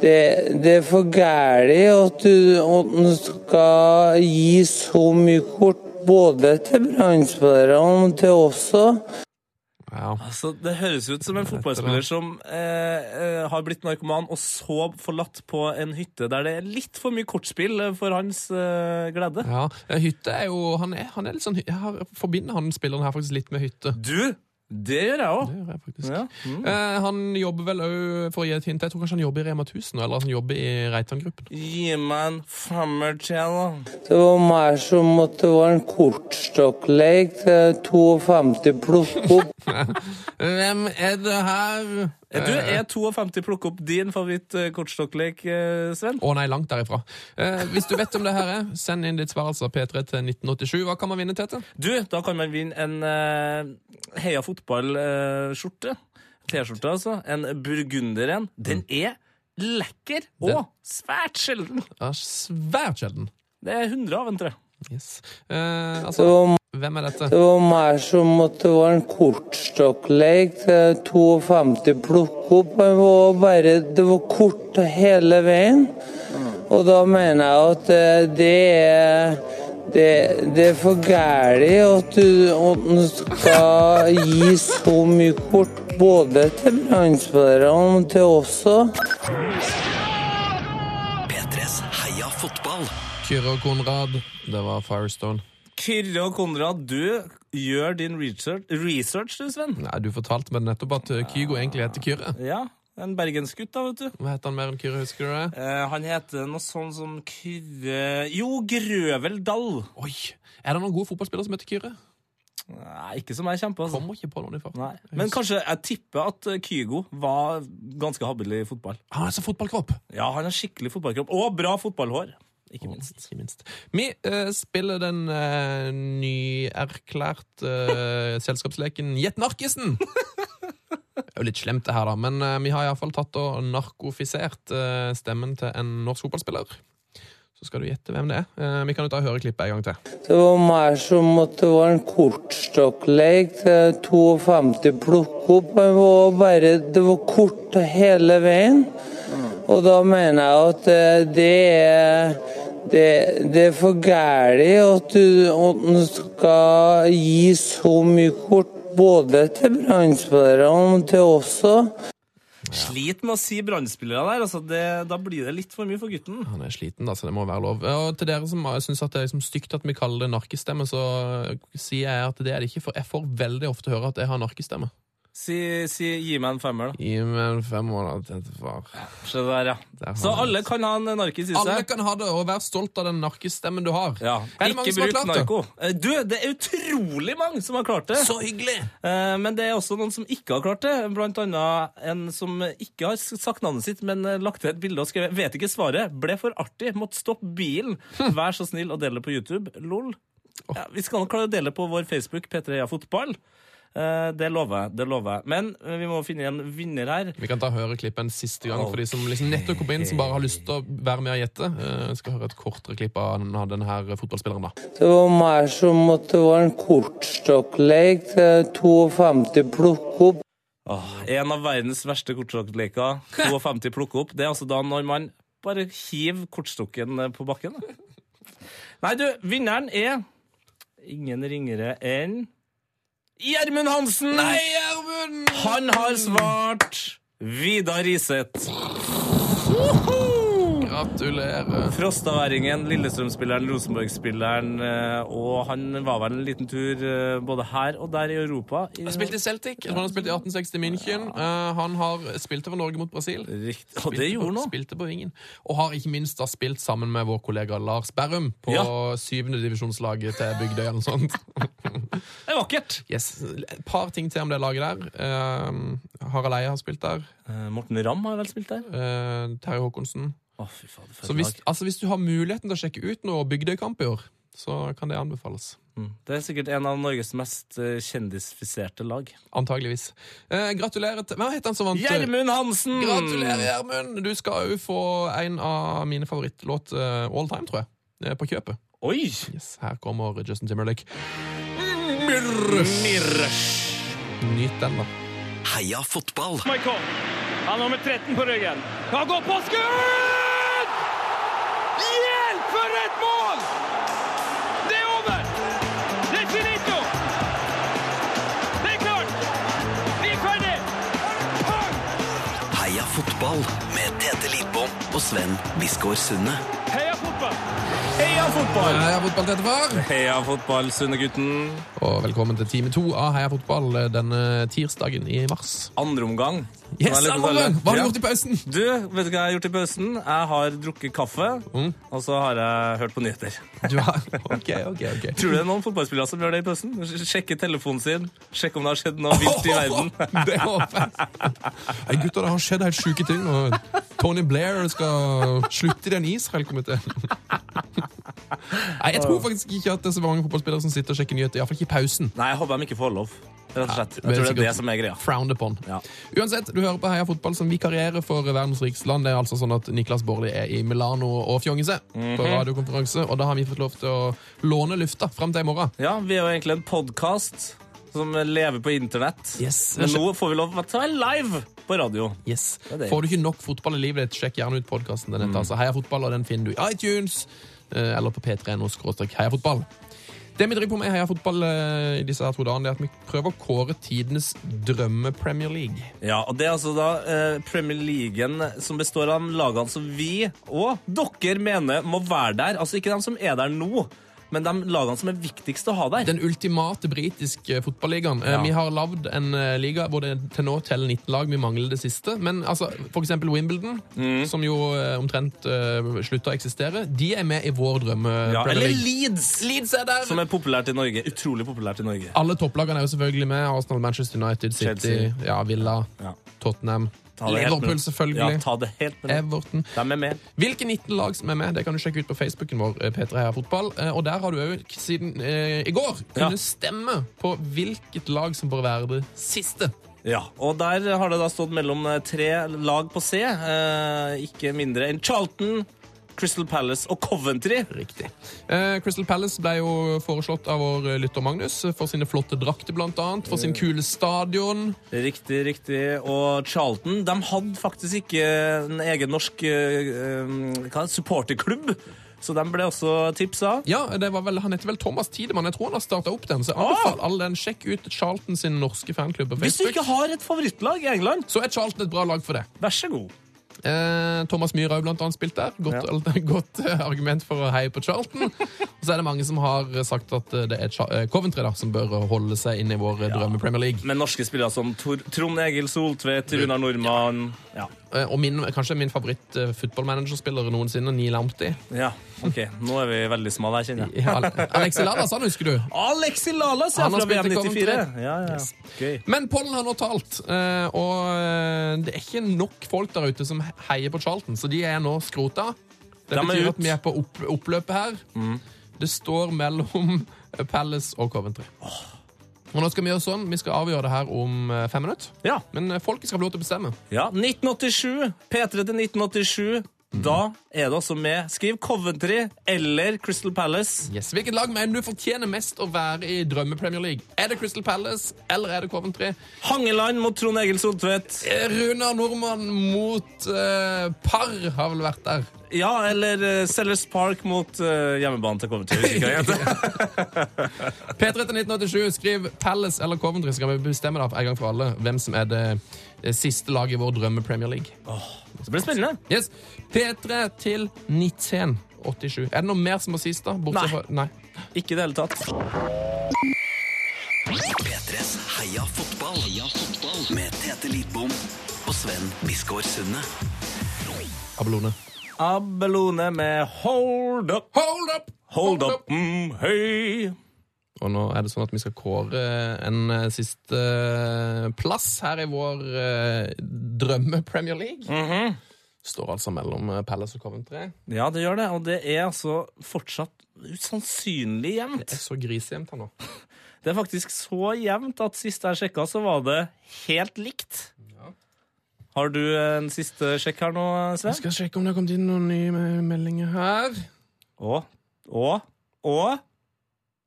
[SPEAKER 6] det, det er for gæli at du at en skal gi så mye kort. Både til brannspillere og til oss også.
[SPEAKER 4] Ja.
[SPEAKER 3] Altså, det høres ut som en fotballspiller som eh, eh, har blitt narkoman og så forlatt på en hytte der det er litt for mye kortspill eh, for hans eh, glede.
[SPEAKER 4] ja. Eh, Hytte er jo Han er, han er litt sånn hy- Jeg har, forbinder han spilleren her faktisk litt med hytte.
[SPEAKER 3] Du, det gjør jeg òg.
[SPEAKER 4] Det gjør jeg faktisk.
[SPEAKER 3] Ja.
[SPEAKER 4] Eh, han jobber vel òg, for å gi et hint Jeg tror kanskje han jobber i Rema 1000, nå, eller han jobber i Reitan-gruppen.
[SPEAKER 3] Gi meg en femmer til, da.
[SPEAKER 6] Det var meg som måtte være en kortstokkleik. Det er 52 plukk opp.
[SPEAKER 4] Hvem er det her?
[SPEAKER 3] Er Eh, Du, er 52 plukke opp din favoritt-kortstokklek, eh, Sven?
[SPEAKER 4] Å nei, langt derifra. Eh, hvis du vet om det her er, send inn ditt svar, altså P3 til 1987. Hva kan man vinne, Tete?
[SPEAKER 3] Du, da kan man vinne en eh, Heia fotball-skjorte. T-skjorte, altså. En burgunder en. Den er lekker og
[SPEAKER 4] Den-
[SPEAKER 3] svært sjelden.
[SPEAKER 4] Ja, svært sjelden.
[SPEAKER 3] Det er 100 av en, tror jeg.
[SPEAKER 4] Yes. Eh,
[SPEAKER 6] Det
[SPEAKER 4] altså,
[SPEAKER 6] var,
[SPEAKER 4] hvem er dette?
[SPEAKER 6] det var meg som måtte det var en kortstokklek. Det er 52 plukk opp. men Det var bare det var kort hele veien. Og da mener jeg at eh, det er det, det er for gærlig at du at du skal gi så mye kort både til brannsperra og til oss også.
[SPEAKER 2] P3s Heia fotball.
[SPEAKER 4] Kyrre og Konrad. Det var Firestone.
[SPEAKER 3] Kyrre og Konrad, du gjør din research, research du, Sven.
[SPEAKER 4] Nei, Du fortalte meg nettopp at eh, Kygo egentlig heter Kyrre.
[SPEAKER 3] Ja, en bergensgutt, da, vet du.
[SPEAKER 4] Hva heter han mer enn Kyrre, husker du det?
[SPEAKER 3] Eh, han heter noe sånn som Kyrre Jo, Grøvel Dall.
[SPEAKER 4] Oi! Er det noen gode fotballspillere som heter Kyrre?
[SPEAKER 3] Nei, ikke som jeg kjemper, altså.
[SPEAKER 4] Kommer ikke på noen i farten.
[SPEAKER 3] Nei. Men kanskje jeg tipper at eh, Kygo var ganske habil i fotball.
[SPEAKER 4] Han har så fotballkropp!
[SPEAKER 3] Ja, han har skikkelig fotballkropp. Og bra fotballhår. Ikke
[SPEAKER 4] Ikke
[SPEAKER 3] minst.
[SPEAKER 4] minst. Ikke minst. Vi eh, spiller den uh, nyerklært eh, selskapsleken Gjett narkisen! Det er jo litt slemt, det her, da, men eh, vi har iallfall tatt og narkofisert eh, stemmen til en norsk fotballspiller. Så skal du gjette hvem det er. Eh, vi kan jo ta og høre klippet en gang til.
[SPEAKER 6] Det var meg som måtte det var en kortstokklek. Det er 52 plukk opp. men Det var bare det var kort hele veien. Og da mener jeg at eh, det er det, det er for gærlig at du, at du skal gi så mye kort både til brannspillere og til oss også.
[SPEAKER 3] Slit med å si brannspillere der. Altså det, da blir det litt for mye for gutten.
[SPEAKER 4] Han er sliten, da, så det må være lov. Eh, Og til dere som eh, syns at det er liksom stygt at vi kaller det narkistemme, så eh, sier jeg at det er det ikke, for jeg får veldig ofte høre at jeg har narkistemme.
[SPEAKER 3] Si, si gi meg en femmer, da.
[SPEAKER 4] Gi meg en femmer, da, til far.
[SPEAKER 3] Se
[SPEAKER 4] Der har
[SPEAKER 3] der, ja. Så
[SPEAKER 4] han
[SPEAKER 3] alle kan ha en narkis i seg.
[SPEAKER 4] Alle kan ha det, og vær stolt av den narkisstemmen du har.
[SPEAKER 3] Ja,
[SPEAKER 4] Er det mange
[SPEAKER 3] Ikke
[SPEAKER 4] som har
[SPEAKER 3] bruk
[SPEAKER 4] klart det?
[SPEAKER 3] narko. Eh, Du, det er utrolig mange som har klart det.
[SPEAKER 2] Så hyggelig!
[SPEAKER 3] Eh, Men det er også noen som ikke har klart det. Blant annet en som ikke har s- sagt navnet sitt, men eh, lagt til et bilde og skrevet 'Vet ikke svaret. Ble for artig. Måtte stoppe bilen. Vær så snill å dele det på YouTube.' Lol. Ja, vi skal nok klare å dele det på vår Facebook P3 Ja Fotball. Eh, Det lover jeg. det lover jeg. Men eh, vi må finne en vinner her.
[SPEAKER 4] Vi kan ta høreklippet en siste gang for de som liksom nettopp kom inn, som bare har lyst til å være med og gjette. Eh, Jeg skal høre et kortere klipp av den- av denne her fotballspilleren, da.
[SPEAKER 6] Det var meg som måtte det var en kortstokklek. Det er 52 plukk opp.
[SPEAKER 3] Åh, en av verdens verste kortstokkleker. 52 plukke opp. Det er altså da når man bare hiver kortstokken eh, på bakken. da. Nei, du, vinneren er ingen ringere enn Gjermund Hansen!
[SPEAKER 4] Gjermund!
[SPEAKER 3] Han har svart Vidar Riseth.
[SPEAKER 4] Gratulerer.
[SPEAKER 3] Frostaværingen, Lillestrøm-spilleren, Rosenborg-spilleren. eh, Og han var vel en liten tur eh, både her og der i Europa. I-
[SPEAKER 4] Han spilte i Celtic. Jeg tror han har spilt i 1860 München. Eh, Han har spilt over Norge mot Brasil.
[SPEAKER 3] Rikt- Og
[SPEAKER 4] Spilte
[SPEAKER 3] det
[SPEAKER 4] på-
[SPEAKER 3] gjorde han.
[SPEAKER 4] Spilte på vingen. Og har ikke minst da spilt sammen med vår kollega Lars Berrum på
[SPEAKER 3] Ja.
[SPEAKER 4] syvende divisjonslaget til Bygdøy eller noe sånt.
[SPEAKER 3] Det er vakkert.
[SPEAKER 4] Yes. Et par ting til om det laget der. Um, Harald Eie har spilt der.
[SPEAKER 3] Eh, Morten Ramm har vel spilt der?
[SPEAKER 4] Uh, Terje Håkonsen.
[SPEAKER 3] Å, fy fader, for
[SPEAKER 4] Så
[SPEAKER 3] et
[SPEAKER 4] hvis,
[SPEAKER 3] lag.
[SPEAKER 4] altså, hvis du har muligheten til å sjekke ut noe Bygdøykamp i år, så kan det anbefales.
[SPEAKER 3] Det er sikkert en av Norges mest eh, kjendisfiserte lag.
[SPEAKER 4] Antageligvis. Eh, gratulerer til Hva het han som vant? eh?
[SPEAKER 3] Gjermund Hansen!
[SPEAKER 4] Gratulerer, Gjermund! Du skal jo få en av mine favorittlåt eh, all time, tror jeg. eh, På kjøpet.
[SPEAKER 3] Oi!
[SPEAKER 4] Yes, her kommer Justin Timberlake.
[SPEAKER 3] Mirrors.
[SPEAKER 4] Nyt den, da.
[SPEAKER 2] Heia fotball.
[SPEAKER 1] Michael. Han har nummer 13 på ryggen. Han går på skudd! Hjelp for et mål! Det er over! Det er finito! Det er klart! Vi er ferdig!
[SPEAKER 2] Heia fotball med Tete Lidbom og Sven Biskår Sunde.
[SPEAKER 1] Heia fotball!
[SPEAKER 3] Heia fotball!
[SPEAKER 4] Heia fotball til etterfor!
[SPEAKER 3] Heia fotball, Sundegutten.
[SPEAKER 4] Og velkommen til time to av Heia fotball eh, denne tirsdagen i mars.
[SPEAKER 3] Andre omgang.
[SPEAKER 4] Yes,
[SPEAKER 3] Kan jeg lykke til
[SPEAKER 4] Alvor!
[SPEAKER 3] alle?
[SPEAKER 4] Hva har
[SPEAKER 3] Ja.
[SPEAKER 4] du gjort i pausen?
[SPEAKER 3] Du, vet du hva jeg har gjort i pausen? Jeg har drukket kaffe,
[SPEAKER 4] Mm.
[SPEAKER 3] og så har jeg hørt på nyheter.
[SPEAKER 4] Du har... Ok, ok, ok.
[SPEAKER 3] Tror du det er noen fotballspillere som gjør det i pausen? Sjekke telefonen sin, sjekke om det har skjedd noe vilt i verden.
[SPEAKER 4] det håper jeg. Nei, gutter, det har skjedd helt sjuke ting. Og Tony Blair skal slutte i den Israel-komiteen. Nei, Jeg tror faktisk ikke at det er så mange fotballspillere som sitter og sjekker nyheter. Iallfall ikke i pausen.
[SPEAKER 3] Nei, jeg håper de ikke får lov. rett og slett.
[SPEAKER 4] Ja,
[SPEAKER 3] Jeg tror det
[SPEAKER 4] sikkert
[SPEAKER 3] er det som er greia.
[SPEAKER 4] Frowned upon.
[SPEAKER 3] Ja.
[SPEAKER 4] Uansett, du hører på Heia Fotball som vikarierer for verdens rikeste land. Det er altså sånn at Niklas Baarli er i Milano og fjonger seg
[SPEAKER 3] Mhm.
[SPEAKER 4] på radiokonferanse, og da har vi fått lov til å låne lufta fram til i morgen.
[SPEAKER 3] Ja, vi er jo egentlig en podkast som lever på internett.
[SPEAKER 4] Yes.
[SPEAKER 3] Men nå får vi lov til å ta en live på radio.
[SPEAKER 4] Yes.
[SPEAKER 3] er det.
[SPEAKER 4] Får du ikke nok fotball i livet ditt, sjekk gjerne ut podkasten. Mm. Altså, Heia fotball, og den finner du i iTunes eh, eller på p3.no skråstrek heia fotball. Det vi driver på med i Heia fotball eh, i disse her to dagene, det er at vi prøver å kåre tidenes drømme-Premier League.
[SPEAKER 3] Ja, og Det er altså da eh, Premier League som består av lagene som vi og dere mener må være der. Altså ikke de som er der nå, men de lagene som er viktigst å ha der.
[SPEAKER 4] Den ultimate britiske fotballigaen. Eh,
[SPEAKER 3] Ja.
[SPEAKER 4] Vi har lagd en eh, liga hvor det til nå teller 19 lag. Vi mangler det siste. Men altså, for eksempel Wimbledon,
[SPEAKER 3] Mm.
[SPEAKER 4] som jo eh, omtrent uh, slutta å eksistere, de er med i vår drømme.
[SPEAKER 3] Ja,
[SPEAKER 4] Premier
[SPEAKER 3] eller
[SPEAKER 4] League.
[SPEAKER 3] Leeds,
[SPEAKER 4] Leeds er der!
[SPEAKER 3] som er populært i Norge. Utrolig populært i Norge.
[SPEAKER 4] Alle topplagene er jo selvfølgelig med. Arsenal, Manchester United, City,
[SPEAKER 3] Chelsea.
[SPEAKER 4] ja, Villa,
[SPEAKER 3] Ja.
[SPEAKER 4] Tottenham,
[SPEAKER 3] Ta det helt med-
[SPEAKER 4] Liverpool selvfølgelig,
[SPEAKER 3] Ja, ta det helt med.
[SPEAKER 4] Everton.
[SPEAKER 3] De er med.
[SPEAKER 4] Hvilke 19 lag som er med, det kan du sjekke ut på Facebooken vår. eh, P3 Heia Fotball. Eh, Og der har du òg siden eh, i går
[SPEAKER 3] Ja.
[SPEAKER 4] kunnet stemme på hvilket lag som bør være det siste.
[SPEAKER 3] Ja, og der har det da stått mellom eh, tre lag på C. Eh, ikke mindre enn Charlton, Crystal Palace og Coventry.
[SPEAKER 4] Riktig. Eh, Crystal Palace ble jo foreslått av vår eh, lytter Magnus eh, for sine flotte drakter, blant annet. For
[SPEAKER 3] Eh.
[SPEAKER 4] sin kule stadion.
[SPEAKER 3] Riktig, riktig. Og Charlton de hadde faktisk ikke en egen norsk eh, eh, hva, supporterklubb, så de ble også tipsa.
[SPEAKER 4] Ja, det var vel, Han heter vel Thomas Tidemann. Jeg tror han har starta opp den. Så jeg anbefaler alle den. Sjekk ut Charlton sin norske fanklubb på
[SPEAKER 3] Ah! Hvis du
[SPEAKER 4] Facebook.
[SPEAKER 3] ikke har et favorittlag i England,
[SPEAKER 4] Så er Charlton et bra lag for det.
[SPEAKER 3] vær så god.
[SPEAKER 4] Eh, Thomas Myhre har jo blant annet spilt der. Godt, godt eh, argument for å heie på Charlton. Og så er det mange som har eh, sagt at eh, det er Cha- eh, Coventry da, som bør eh, holde seg inn i vår eh, drømme Premier League.
[SPEAKER 3] Med norske spillere som Tor Trond Egil Soltvedt, Runar Nordmann Ja.
[SPEAKER 4] Eh, og min, kanskje min favoritt-footballmanagerspiller noensinne, Neil Amty.
[SPEAKER 3] ja. OK, nå er vi veldig smale her, kjenner jeg.
[SPEAKER 4] Ja, Alexi Lalas, han husker du.
[SPEAKER 3] Alexi Lalas ja,
[SPEAKER 4] Han har
[SPEAKER 3] fra
[SPEAKER 4] spilt i
[SPEAKER 3] VM94.
[SPEAKER 4] Coventry.
[SPEAKER 3] Ja, ja.
[SPEAKER 4] Yes.
[SPEAKER 3] Gøy.
[SPEAKER 4] Men pollen har nå talt, eh, og eh, det er ikke nok folk der ute som heier på Charlton, så de er nå skrota. Det
[SPEAKER 3] De er
[SPEAKER 4] betyr
[SPEAKER 3] ut.
[SPEAKER 4] at vi Mm. er på opp oppløpet her. Det står mellom eh, Palace og Coventry. Og nå skal Vi gjøre sånn, vi skal avgjøre det her om eh, fem minutter.
[SPEAKER 3] Ja.
[SPEAKER 4] Men eh, folket skal få lov til å bestemme.
[SPEAKER 3] Ja, 1987. P3 til 1987. Da er det også med. Skriv Coventry eller Crystal Palace.
[SPEAKER 4] Yes. Hvilket lag mener du fortjener mest å være i drømme-Premier League? Er det Crystal Palace eller er det Coventry?
[SPEAKER 3] Hangeland mot Trond Egil Soltvedt.
[SPEAKER 4] Eh, Runar Nordmann mot eh, Par har vel vært der.
[SPEAKER 3] Ja, eller eh, Sellers Park mot eh, hjemmebanen til Coventry. hvis ikke jeg heter.
[SPEAKER 4] P3 til 1987, skriv Palace eller Coventry, så kan vi bestemme da for en gang for alle hvem som er det eh, siste laget i vår drømme Premier League.
[SPEAKER 3] Det blir spennende.
[SPEAKER 4] Yes, P3 til 1987. Er det noe mer som må sies, da? Bortsett fra-
[SPEAKER 3] Nei.
[SPEAKER 4] Nei.
[SPEAKER 3] Ikke i det hele tatt.
[SPEAKER 2] P3s Heia fotball. Heia fotball. Med Tete Lidbom og Sven Biskår Sunde.
[SPEAKER 4] Abelone.
[SPEAKER 3] Abelone med Hold Up.
[SPEAKER 4] Hold up!
[SPEAKER 3] Hold Up, mm, høy.
[SPEAKER 4] Og nå er det sånn at vi skal kåre en eh, siste eh, plass her i vår eh, drømme Premier League. Står altså mellom eh, Palace og Coventry.
[SPEAKER 3] Ja, det gjør det. Og det er altså fortsatt usannsynlig jevnt.
[SPEAKER 4] Det er så grisejevnt her nå.
[SPEAKER 3] Det er faktisk så jevnt at sist jeg sjekka, så var det helt likt. Har du en siste sjekk her nå,
[SPEAKER 4] Jeg
[SPEAKER 3] Sven?
[SPEAKER 4] skal sjekke om det har kommet inn noen nye me- meldinger her.
[SPEAKER 3] Og, og, og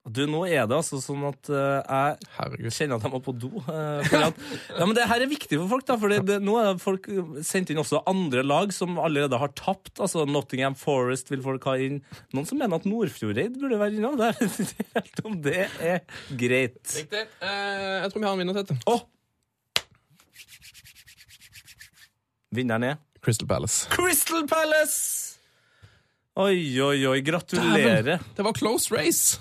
[SPEAKER 3] Du, nå er det altså sånn at eh,
[SPEAKER 4] Herregud.
[SPEAKER 3] jeg kjenner at jeg må på do. eh, fordi at, ja, men det her er viktig for folk, da. For det, nå er det folk sendt inn også andre lag som allerede har tapt. Altså Nottingham Forest vil folk ha inn. Noen som mener at Nordfjordeid burde være innom. Det er helt om det er greit.
[SPEAKER 4] Riktig. Eh, jeg tror vi har en vinner til dette.
[SPEAKER 3] Å! Vinneren er
[SPEAKER 4] Crystal Palace.
[SPEAKER 3] Crystal Palace! Oi, oi, oi. Gratulerer.
[SPEAKER 4] Det var close race.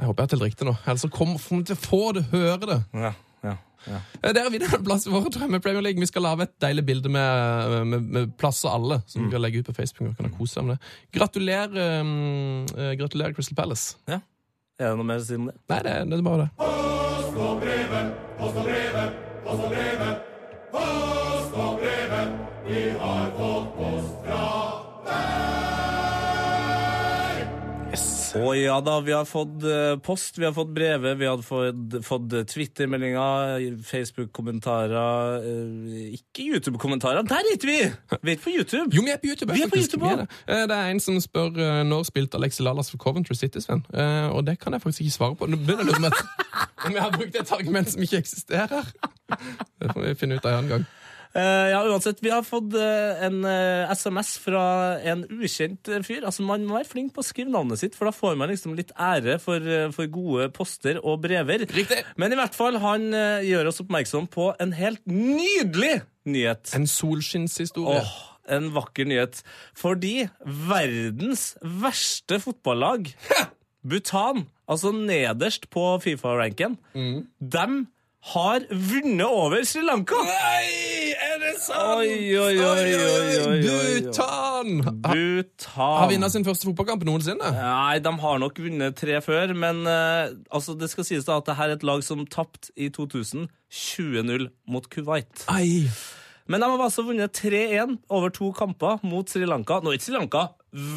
[SPEAKER 4] Jeg håper jeg har telt riktig nå. Ellers så kommer vi til å få det, høre det.
[SPEAKER 3] Ja, ja.
[SPEAKER 4] Eh, Dere vinner en plass i vår drømme Premier League. Vi skal lage et deilig bilde med, eh, med, med plass og alle, som vi kan legge ut på Facebook. Og kan ha kose seg med det. Gratulerer, um, eh, gratulerer Crystal Palace.
[SPEAKER 3] Er det noe mer å si om det?
[SPEAKER 4] Nei, det, det er bare det. Yes.
[SPEAKER 3] Å ja da, vi har fått eh, post, vi har fått brevet, vi har fått, fått eh, Twitter-meldinger, Facebook-kommentarer eh, Ikke YouTube-kommentarer. Der er ikke vi! Vi er ikke på YouTube.
[SPEAKER 4] Jo, vi er på YouTube.
[SPEAKER 3] Vi er på
[SPEAKER 4] faktisk.
[SPEAKER 3] YouTube
[SPEAKER 4] Vi
[SPEAKER 3] også.
[SPEAKER 4] det. Eh, det er en som spør eh, når spilte Alexi Lalas for Coventry City, Sven. Eh, Og det kan jeg faktisk ikke svare på. Nå begynner jeg å lure meg på om jeg har brukt et argument som ikke eksisterer. Det får vi finne ut av en annen gang.
[SPEAKER 3] Eh, ja, uansett, vi har fått eh, en eh, SMS fra en ukjent eh, fyr. Altså, Man må være flink på å skrive navnet sitt, for da får man liksom litt ære for, eh, for gode poster og brever.
[SPEAKER 4] Riktig.
[SPEAKER 3] Men i hvert fall, han eh, gjør oss oppmerksom på en helt nydelig nyhet.
[SPEAKER 4] En solskinnshistorie.
[SPEAKER 3] Åh, en vakker nyhet. Fordi verdens verste fotballag, Bhutan, altså nederst på Fifa-ranken,
[SPEAKER 4] Mm.
[SPEAKER 3] dem har vunnet over Sri Lanka!
[SPEAKER 4] Nei, er det sant?!
[SPEAKER 3] Oi, oi, oi, oi, oi, oi, oi.
[SPEAKER 4] Bhutan! Ha-
[SPEAKER 3] Bhutan.
[SPEAKER 4] Har vunnet sin første fotballkamp noensinne.
[SPEAKER 3] Nei, de har nok vunnet tre før, men eh, altså, det skal sies da at det her er et lag som tapte i 2000 20-0 mot Kuwait.
[SPEAKER 4] Ei.
[SPEAKER 3] Men de har altså vunnet 3-1 over to kamper mot Sri Lanka. Nå er ikke Sri Lanka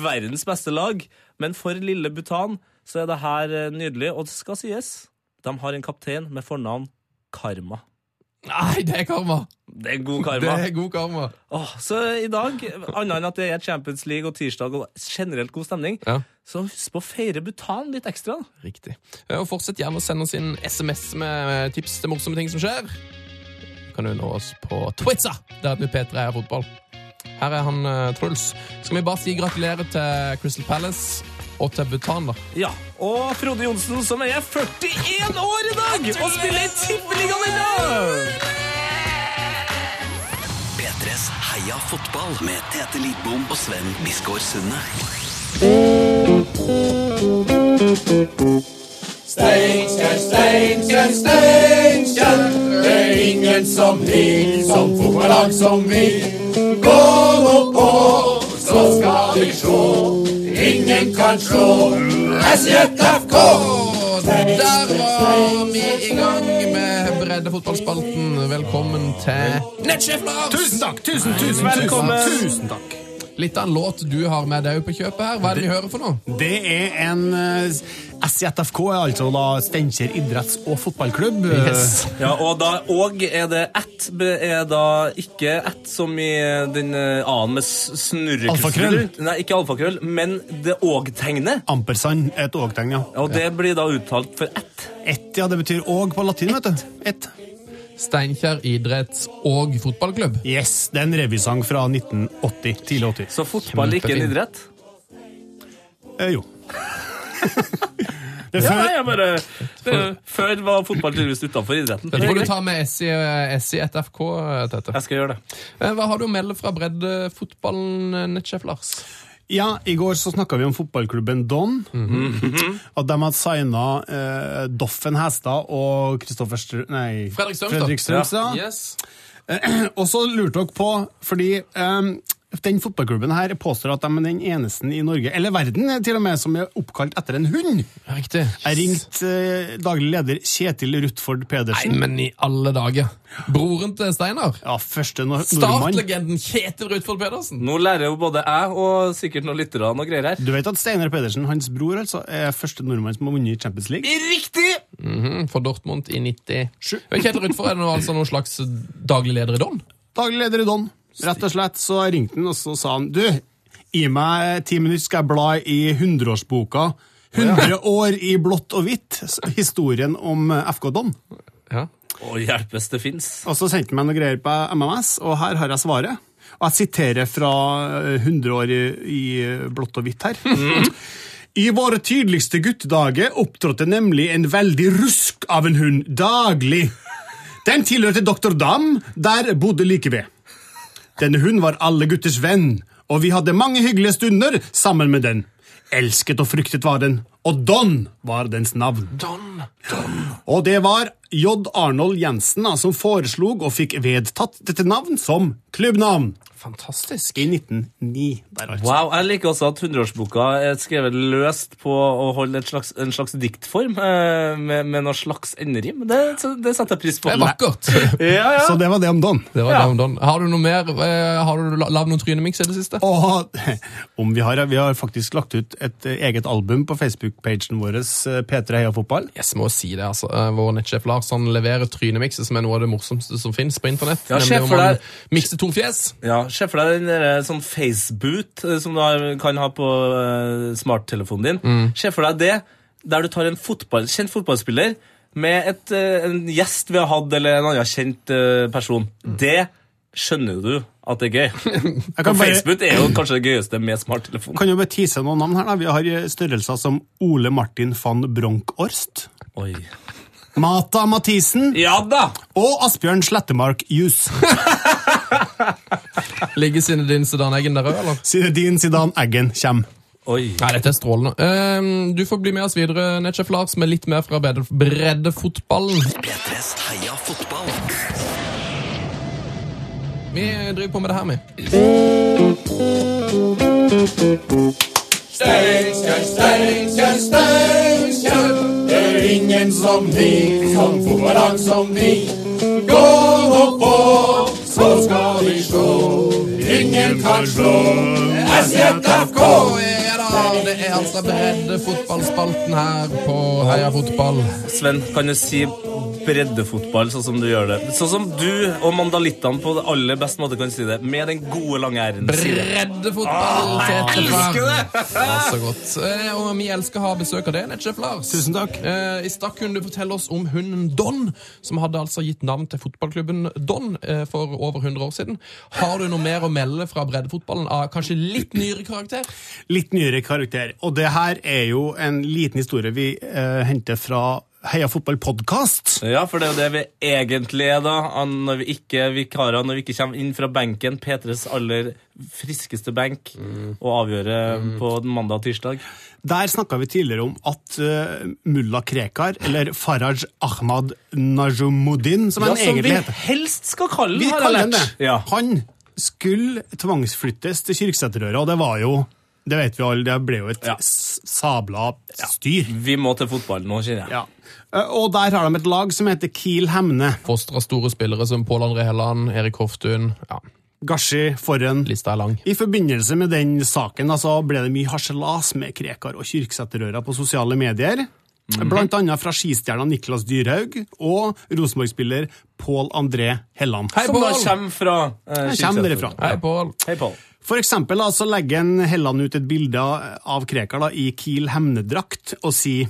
[SPEAKER 3] verdens beste lag, men for lille Bhutan så er det her eh, nydelig. Og det skal sies, de har en kaptein med fornavn Karma.
[SPEAKER 4] Nei, det er karma!
[SPEAKER 3] Det er god
[SPEAKER 4] Det
[SPEAKER 3] karma.
[SPEAKER 4] er god karma.
[SPEAKER 3] Åh, så i dag, annet enn at det er Champions League og tirsdag og generelt god stemning,
[SPEAKER 4] Ja.
[SPEAKER 3] så husk på å feire Bhutan litt ekstra.
[SPEAKER 4] Riktig. Eh, Og fortsett gjerne å sende oss inn SMS med eh, tips til morsomme ting som skjer. Kan du nå oss på Twitter, der heter vi P3 er fotball. Her er han eh, Truls. Skal vi bare si gratulerer til Crystal Palace og til Bhutan, da?
[SPEAKER 3] Ja, og Frode Jonsen, som er 41 år i dag, og spiller i Tippeligaen i dag!
[SPEAKER 2] P3s Heia fotball med Tete Lidbom og Sven Biskår Sunde.
[SPEAKER 4] Der var vi i gang med breddefotballspalten. Velkommen til Nettsjef Lars!
[SPEAKER 7] Tusen takk! Tusen, tusen,
[SPEAKER 3] Velkommen.
[SPEAKER 7] tusen, tusen takk.
[SPEAKER 4] Litt av en låt du har med deg på kjøpet her. Hva er det vi hører for noe?
[SPEAKER 7] Det er en eh, SJFK, er altså da Steinkjer idretts- og fotballklubb. eh,
[SPEAKER 4] Yes.
[SPEAKER 3] Ja, og, da, og er det ett, be- er da ikke ett som i den eh, annen med s- snurrekrull.
[SPEAKER 7] Alfakrøll.
[SPEAKER 3] Nei, ikke alfakrøll, men det og-tegnet.
[SPEAKER 7] Ampersand, et ågtegn, ja.
[SPEAKER 3] Og det blir da uttalt for ett.
[SPEAKER 7] Ett, ja, det betyr åg på latin, vet du. Ett.
[SPEAKER 4] Steinkjer idretts- og fotballklubb.
[SPEAKER 7] Yes, det er en revysang fra 1980, tidlig 80.
[SPEAKER 3] Så fotball er ikke en
[SPEAKER 4] Kjempefint.
[SPEAKER 3] idrett.
[SPEAKER 7] Eh, jo. det er
[SPEAKER 3] Ja,
[SPEAKER 7] før,
[SPEAKER 3] nei, jeg bare, det, før var fotball tydeligvis utenfor idretten.
[SPEAKER 4] Dette får du
[SPEAKER 3] Det er greit.
[SPEAKER 4] ta med SI, eh, SI FK, eh, Tete.
[SPEAKER 3] Jeg skal gjøre det.
[SPEAKER 4] Eh, Hva har du å melde fra breddefotballen, eh, nettsjef Lars?
[SPEAKER 7] Ja, I går så snakka vi om fotballklubben Don. At de hadde signa eh, Doffen Hestad og Kristoffer Str... Nei,
[SPEAKER 4] Fredrik Strømstad.
[SPEAKER 7] Fredrik Strømstad.
[SPEAKER 4] Yes.
[SPEAKER 7] Og så lurte dere på, fordi ehm, den fotballklubben her påstår at de er den eneste i Norge, eller verden eh, til og med, som er oppkalt etter en hund.
[SPEAKER 4] Riktig.
[SPEAKER 7] Jeg ringte eh, daglig leder Kjetil Rutford
[SPEAKER 4] Nei,
[SPEAKER 7] Pedersen.
[SPEAKER 4] men i alle dager. Broren til Steinar.
[SPEAKER 7] Ja, første nor nordmann.
[SPEAKER 4] Startlegenden Kjetil Rutfold Pedersen.
[SPEAKER 3] Nå lærer jo både jeg og sikkert noen lyttere noe greier her.
[SPEAKER 7] Du vet at Steinar Pedersen, hans bror, altså, er første nordmann som har vunnet Champions League?
[SPEAKER 4] Mhm, For Dortmund i 97.
[SPEAKER 7] Sju.
[SPEAKER 4] Men Kjetil Rutfold er nå altså noen slags daglig leder i Don.
[SPEAKER 7] Daglig leder i Don. Rett og slett så ringte han, og så sa han Du, gi meg ti minutter, skal jeg bla i 100-årsboka. 100 år i blått og hvitt. s- Historien om eh, FK Don.
[SPEAKER 4] Ja.
[SPEAKER 3] Å, hjelpes det fins.
[SPEAKER 7] Og så sendte han meg noen greier på MMS, og her har jeg svaret. Og jeg siterer fra eh, 100 år i, i blått og hvitt her. I våre tidligste guttedager opptrådte nemlig en veldig rusk av en hund daglig. Den tilhørte Dr. Dam, der bodde like ved. Denne hunden var alle gutters venn, og vi hadde mange hyggelige stunder sammen med den. Elsket og fryktet var den, og Don var dens navn.
[SPEAKER 4] Don.
[SPEAKER 7] Og det var J. Arnold Jensen da, som foreslo og fikk vedtatt dette navn som klubbnavn
[SPEAKER 4] Fantastisk.
[SPEAKER 7] i 1909. Der, altså.
[SPEAKER 3] Wow, Jeg liker også at 100-årsboka er skrevet løst på å holde et slags, en slags diktform eh, med, med noe slags enderim. Det, det setter jeg pris på.
[SPEAKER 4] Det er vakkert.
[SPEAKER 3] Ja, ja.
[SPEAKER 7] Så det var det om Don.
[SPEAKER 4] Det var Don Don. Har du noe mer? eh, Har du la- lagd noen trynemix i det siste?
[SPEAKER 7] Og om vi har, vi har faktisk lagt ut et eh, eget album på Facebook-pagen vår, eh, P3 Heia Fotball.
[SPEAKER 4] Jeg må si det, altså. Eh, Vår nettsjef Lars han leverer trynemikser som er noe av det morsomste som finnes på internett.
[SPEAKER 3] Ja,
[SPEAKER 4] Nemlig
[SPEAKER 3] sjef,
[SPEAKER 4] om
[SPEAKER 3] for
[SPEAKER 4] man
[SPEAKER 3] det
[SPEAKER 4] mikser to fjes.
[SPEAKER 3] Ja, Se for deg den der, sånn Facebook eh, som du har, kan ha på eh, smarttelefonen din. Se for deg det der du tar en fotball, kjent fotballspiller med et, eh, en gjest vi har hatt, eller en annen kjent eh, person. Det skjønner du at det er gøy.
[SPEAKER 7] Jeg
[SPEAKER 3] Og
[SPEAKER 7] kan, bare,
[SPEAKER 3] Facebook er jo kanskje det gøyeste med smarttelefon.
[SPEAKER 7] kan jo bare tease noen navn her. da. Vi har eh, størrelser som Ole Martin van Bronk-Orst,
[SPEAKER 3] Oi.
[SPEAKER 7] Mata Mathisen
[SPEAKER 3] Ja da!
[SPEAKER 7] og Asbjørn Slettemark Jus.
[SPEAKER 4] Ligger sinnet din Sudan Eggen der òg, eller?
[SPEAKER 7] Din Sidan Eggen kommer.
[SPEAKER 3] Oi.
[SPEAKER 4] Nei, dette er strålende. Eh, du får bli med oss videre, nettsjef Lars, med litt mer fra bredde- breddefotballen.
[SPEAKER 2] P3s Heia fotball.
[SPEAKER 4] Vi driver på med det her, vi. Ja da, det er altså breddefotballspalten her på Heia Fotball.
[SPEAKER 3] Sven, kan du si breddefotball sånn som du gjør det? Sånn som du og mandalittene på det aller beste måte kan si det, med den gode, lange r-en. Si det.
[SPEAKER 4] Breddefotball! Tete Fram.
[SPEAKER 3] det!
[SPEAKER 4] Ja, så godt. Eh, Og vi elsker å ha besøk av det, nettsjef Lars.
[SPEAKER 7] Tusen takk.
[SPEAKER 4] Eh, I stad kunne du fortelle oss om hunden Don, som hadde altså gitt navn til fotballklubben Don eh, for over 100 år siden. Har du noe mer å melde fra breddefotballen av kanskje litt nyere karakter?
[SPEAKER 7] litt nyere karakter. Og det her er jo en liten historie vi eh, henter fra Heia fotball podkast.
[SPEAKER 3] Ja, for det er jo det vi egentlig er, da. an- Når vi ikke er vikarer, når vi ikke kommer inn fra benken, P3s aller friskeste benk, og avgjøre på den mandag og tirsdag.
[SPEAKER 7] Der snakka vi tidligere om at eh, mulla Krekar, eller Faraj Ahmad Najumuddin, som
[SPEAKER 3] Ja,
[SPEAKER 7] han
[SPEAKER 3] som vi
[SPEAKER 7] egentlig heter
[SPEAKER 3] helst skal kalle
[SPEAKER 7] Vi
[SPEAKER 3] den, har jeg
[SPEAKER 7] kaller han
[SPEAKER 3] lært.
[SPEAKER 7] det.
[SPEAKER 3] Ja.
[SPEAKER 7] Han skulle tvangsflyttes til Kyrksæterøra, og det var jo Det vet vi alle, det ble jo et
[SPEAKER 3] Ja.
[SPEAKER 7] s- sabla styr.
[SPEAKER 3] Vi må til fotball nå, kjenner jeg.
[SPEAKER 7] Ja. Eh, Og der har de et lag som heter Kiel Hemne.
[SPEAKER 4] Fostra store spillere som Pål André Helland, Erik Hoftun Ja,
[SPEAKER 7] Gashi Forren,
[SPEAKER 4] lista er lang.
[SPEAKER 7] I forbindelse med den saken da, så ble det mye harselas med Krekar og Kyrksæterøra på sosiale medier.
[SPEAKER 4] Mhm.
[SPEAKER 7] Blant annet fra skistjerna Niklas Dyrhaug og Rosenborg-spiller Pål André Helland.
[SPEAKER 4] Hei,
[SPEAKER 3] Som da
[SPEAKER 4] Pål!
[SPEAKER 3] kommer fra eh,
[SPEAKER 7] Her kommer dere
[SPEAKER 3] Skilsæter.
[SPEAKER 7] fra.
[SPEAKER 4] Hei, Pål.
[SPEAKER 3] Hei, Pål.
[SPEAKER 7] For eksempel da, så legger en Helland ut et bilde av Krekar da, i Kiel Hemne-drakt og sier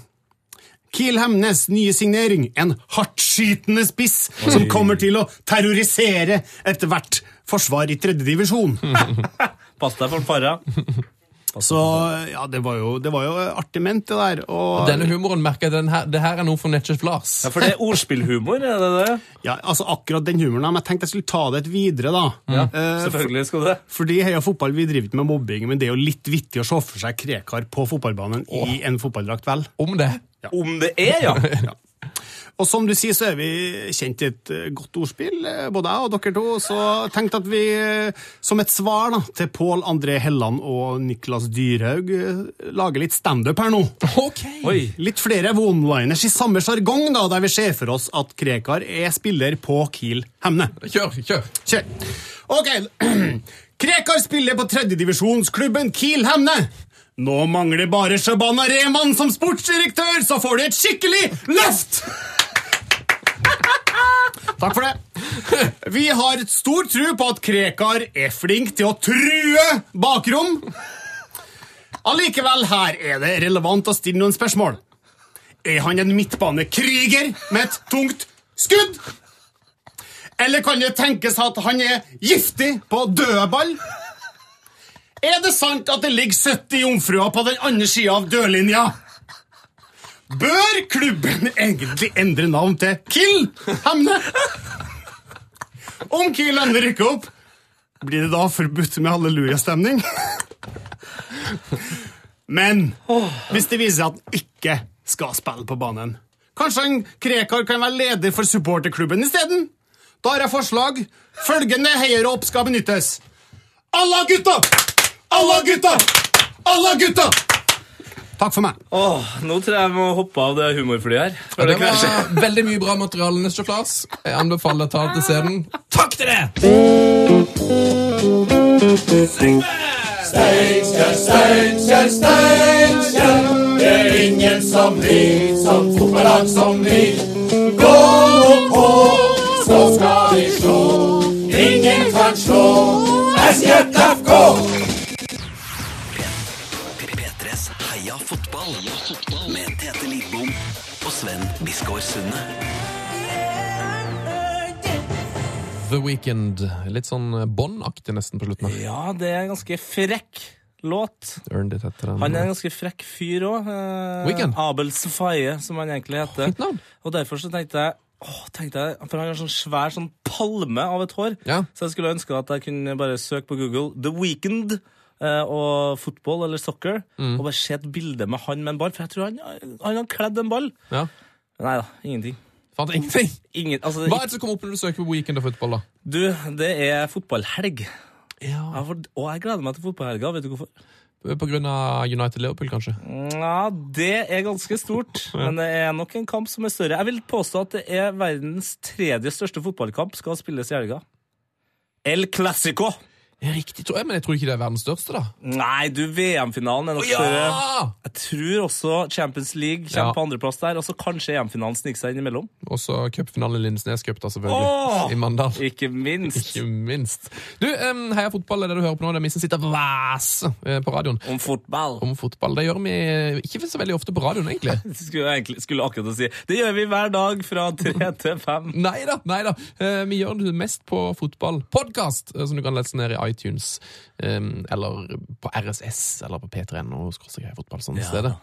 [SPEAKER 7] Kiel Hemnes nye signering, en hardtskytende spiss som kommer til å terrorisere etter hvert forsvar i tredje divisjon.
[SPEAKER 3] Pass deg for Farra.
[SPEAKER 7] Så ja, det var jo, det var jo artig ment, det der. Og,
[SPEAKER 4] Denne humoren merker jeg den her, det her er noe for nettsjef Lars.
[SPEAKER 3] Ja, for det er ordspillhumor, er det det?
[SPEAKER 7] Ja, altså akkurat den humoren, da, men jeg tenkte jeg skulle ta det et videre, da. Eh,
[SPEAKER 3] Selvfølgelig skal du det.
[SPEAKER 7] fordi Heia Fotball vi driver ikke med mobbing, men det er jo litt vittig å se for seg Krekar på fotballbanen i en fotballdrakt, vel.
[SPEAKER 4] Om det.
[SPEAKER 3] Om det er, ja.
[SPEAKER 7] Og som du sier, så er vi kjent i et eh, godt ordspill, eh, både jeg og dere to, så jeg tenkte at vi eh, som et svar da, til Pål André Helland og Niklas Dyrhaug eh, lager litt standup her nå.
[SPEAKER 4] Ok.
[SPEAKER 3] Oi.
[SPEAKER 7] Litt flere one-liners i samme sjargong, da, der vi ser for oss at Krekar er spiller på Kiel Hemne.
[SPEAKER 4] Kjør, kjør.
[SPEAKER 7] Kjør. Ok. Krekar spiller på tredjedivisjonsklubben Kiel Hemne. Nå mangler bare Shabana Rehman som sportsdirektør, så får de et skikkelig løft! Takk for det. Vi har stor tro på at Krekar er flink til å true bakrom. Allikevel, her er det relevant å stille noen spørsmål. Er han en midtbanekriger med et tungt skudd? Eller kan det tenkes at han er giftig på dødball? Er det sant at det ligger 70 jomfruer på den andre sida av dørlinja? Bør klubben egentlig endre navn til Kill Hemne? Om Kill Hemne rykker opp, blir det da forbudt med hallelujastemning? Men hvis det viser seg at han ikke skal spille på banen Kanskje han Krekar kan være leder for supporterklubben isteden? Da har jeg forslag. Følgende heiarop skal benyttes. Alla gutta! Alla gutta! Alla gutta! Takk for meg.
[SPEAKER 3] Åh, nå tror jeg jeg må hoppe av det humorflyet her.
[SPEAKER 4] Og det var veldig mye bra materiale, Nestor Claes. Jeg anbefaler å ta til scenen. Takk til det!
[SPEAKER 2] P3s Heia fotball. Heia fotball med Tete Lidbom og Sven Biskår Sunde.
[SPEAKER 4] The Weekend. Litt sånn Bond-aktig nesten på slutten. her.
[SPEAKER 3] Ja, det er en ganske frekk låt.
[SPEAKER 4] Earned it etter
[SPEAKER 3] Han er
[SPEAKER 4] den.
[SPEAKER 3] en ganske frekk fyr òg.
[SPEAKER 4] Weekend.
[SPEAKER 3] Abel Safaye, som han egentlig heter.
[SPEAKER 4] Fint navn.
[SPEAKER 3] Og derfor så tenkte jeg Åh, tenkte jeg, For han har sånn svær sånn palme av et hår.
[SPEAKER 4] Ja.
[SPEAKER 3] Så jeg skulle ønske at jeg kunne bare søke på Google The Weekend eh, og fotball eller soccer,
[SPEAKER 4] Mm.
[SPEAKER 3] og bare se et bilde med han med en ball. For jeg tror han, han har kledd en ball.
[SPEAKER 4] Ja.
[SPEAKER 3] Nei da, ingenting.
[SPEAKER 4] Fant ingenting.
[SPEAKER 3] Ingen, altså,
[SPEAKER 4] Hva er det som kommer opp når du søker på Weekend og fotball, da?
[SPEAKER 3] Du, det er fotballhelg.
[SPEAKER 4] Ja.
[SPEAKER 3] Jeg får, og jeg gleder meg til fotballhelga. Vet du hvorfor?
[SPEAKER 4] På grunn av United Liverpool, kanskje?
[SPEAKER 3] Ja, det er ganske stort, men det er nok en kamp som er større. Jeg vil påstå at det er verdens tredje største fotballkamp skal spilles i helga. El Clásico!
[SPEAKER 4] Ja, Riktig, tror jeg, men jeg tror ikke det er verdens største, da. Ah!
[SPEAKER 3] Nei, du, VM-finalen er nok større. Jeg tror også Champions League
[SPEAKER 4] Ja.
[SPEAKER 3] kommer på andreplass der, og så kanskje EM-finalen sniker seg innimellom.
[SPEAKER 4] Og så cupfinalen i Lindesnes Cup, da, selvfølgelig.
[SPEAKER 3] Åh!
[SPEAKER 4] I Mandal.
[SPEAKER 3] Ikke minst.
[SPEAKER 4] Ikke minst. Du, um, Heia fotball er det du hører på nå. Det er vi som sitter og vaser eh, på radioen
[SPEAKER 3] Om fotball.
[SPEAKER 4] om fotball. Det gjør vi eh, ikke så veldig ofte på radioen, egentlig.
[SPEAKER 3] Skulle jeg egentlig, skulle akkurat å si. Det gjør vi hver dag fra tre til fem.
[SPEAKER 4] Nei da, nei da. Eh, vi gjør det mest på fotballpodkast, som du kan lese ned i iTunes. eh, eller på RSS, eller på P3NO. fotball sånn ja, sted.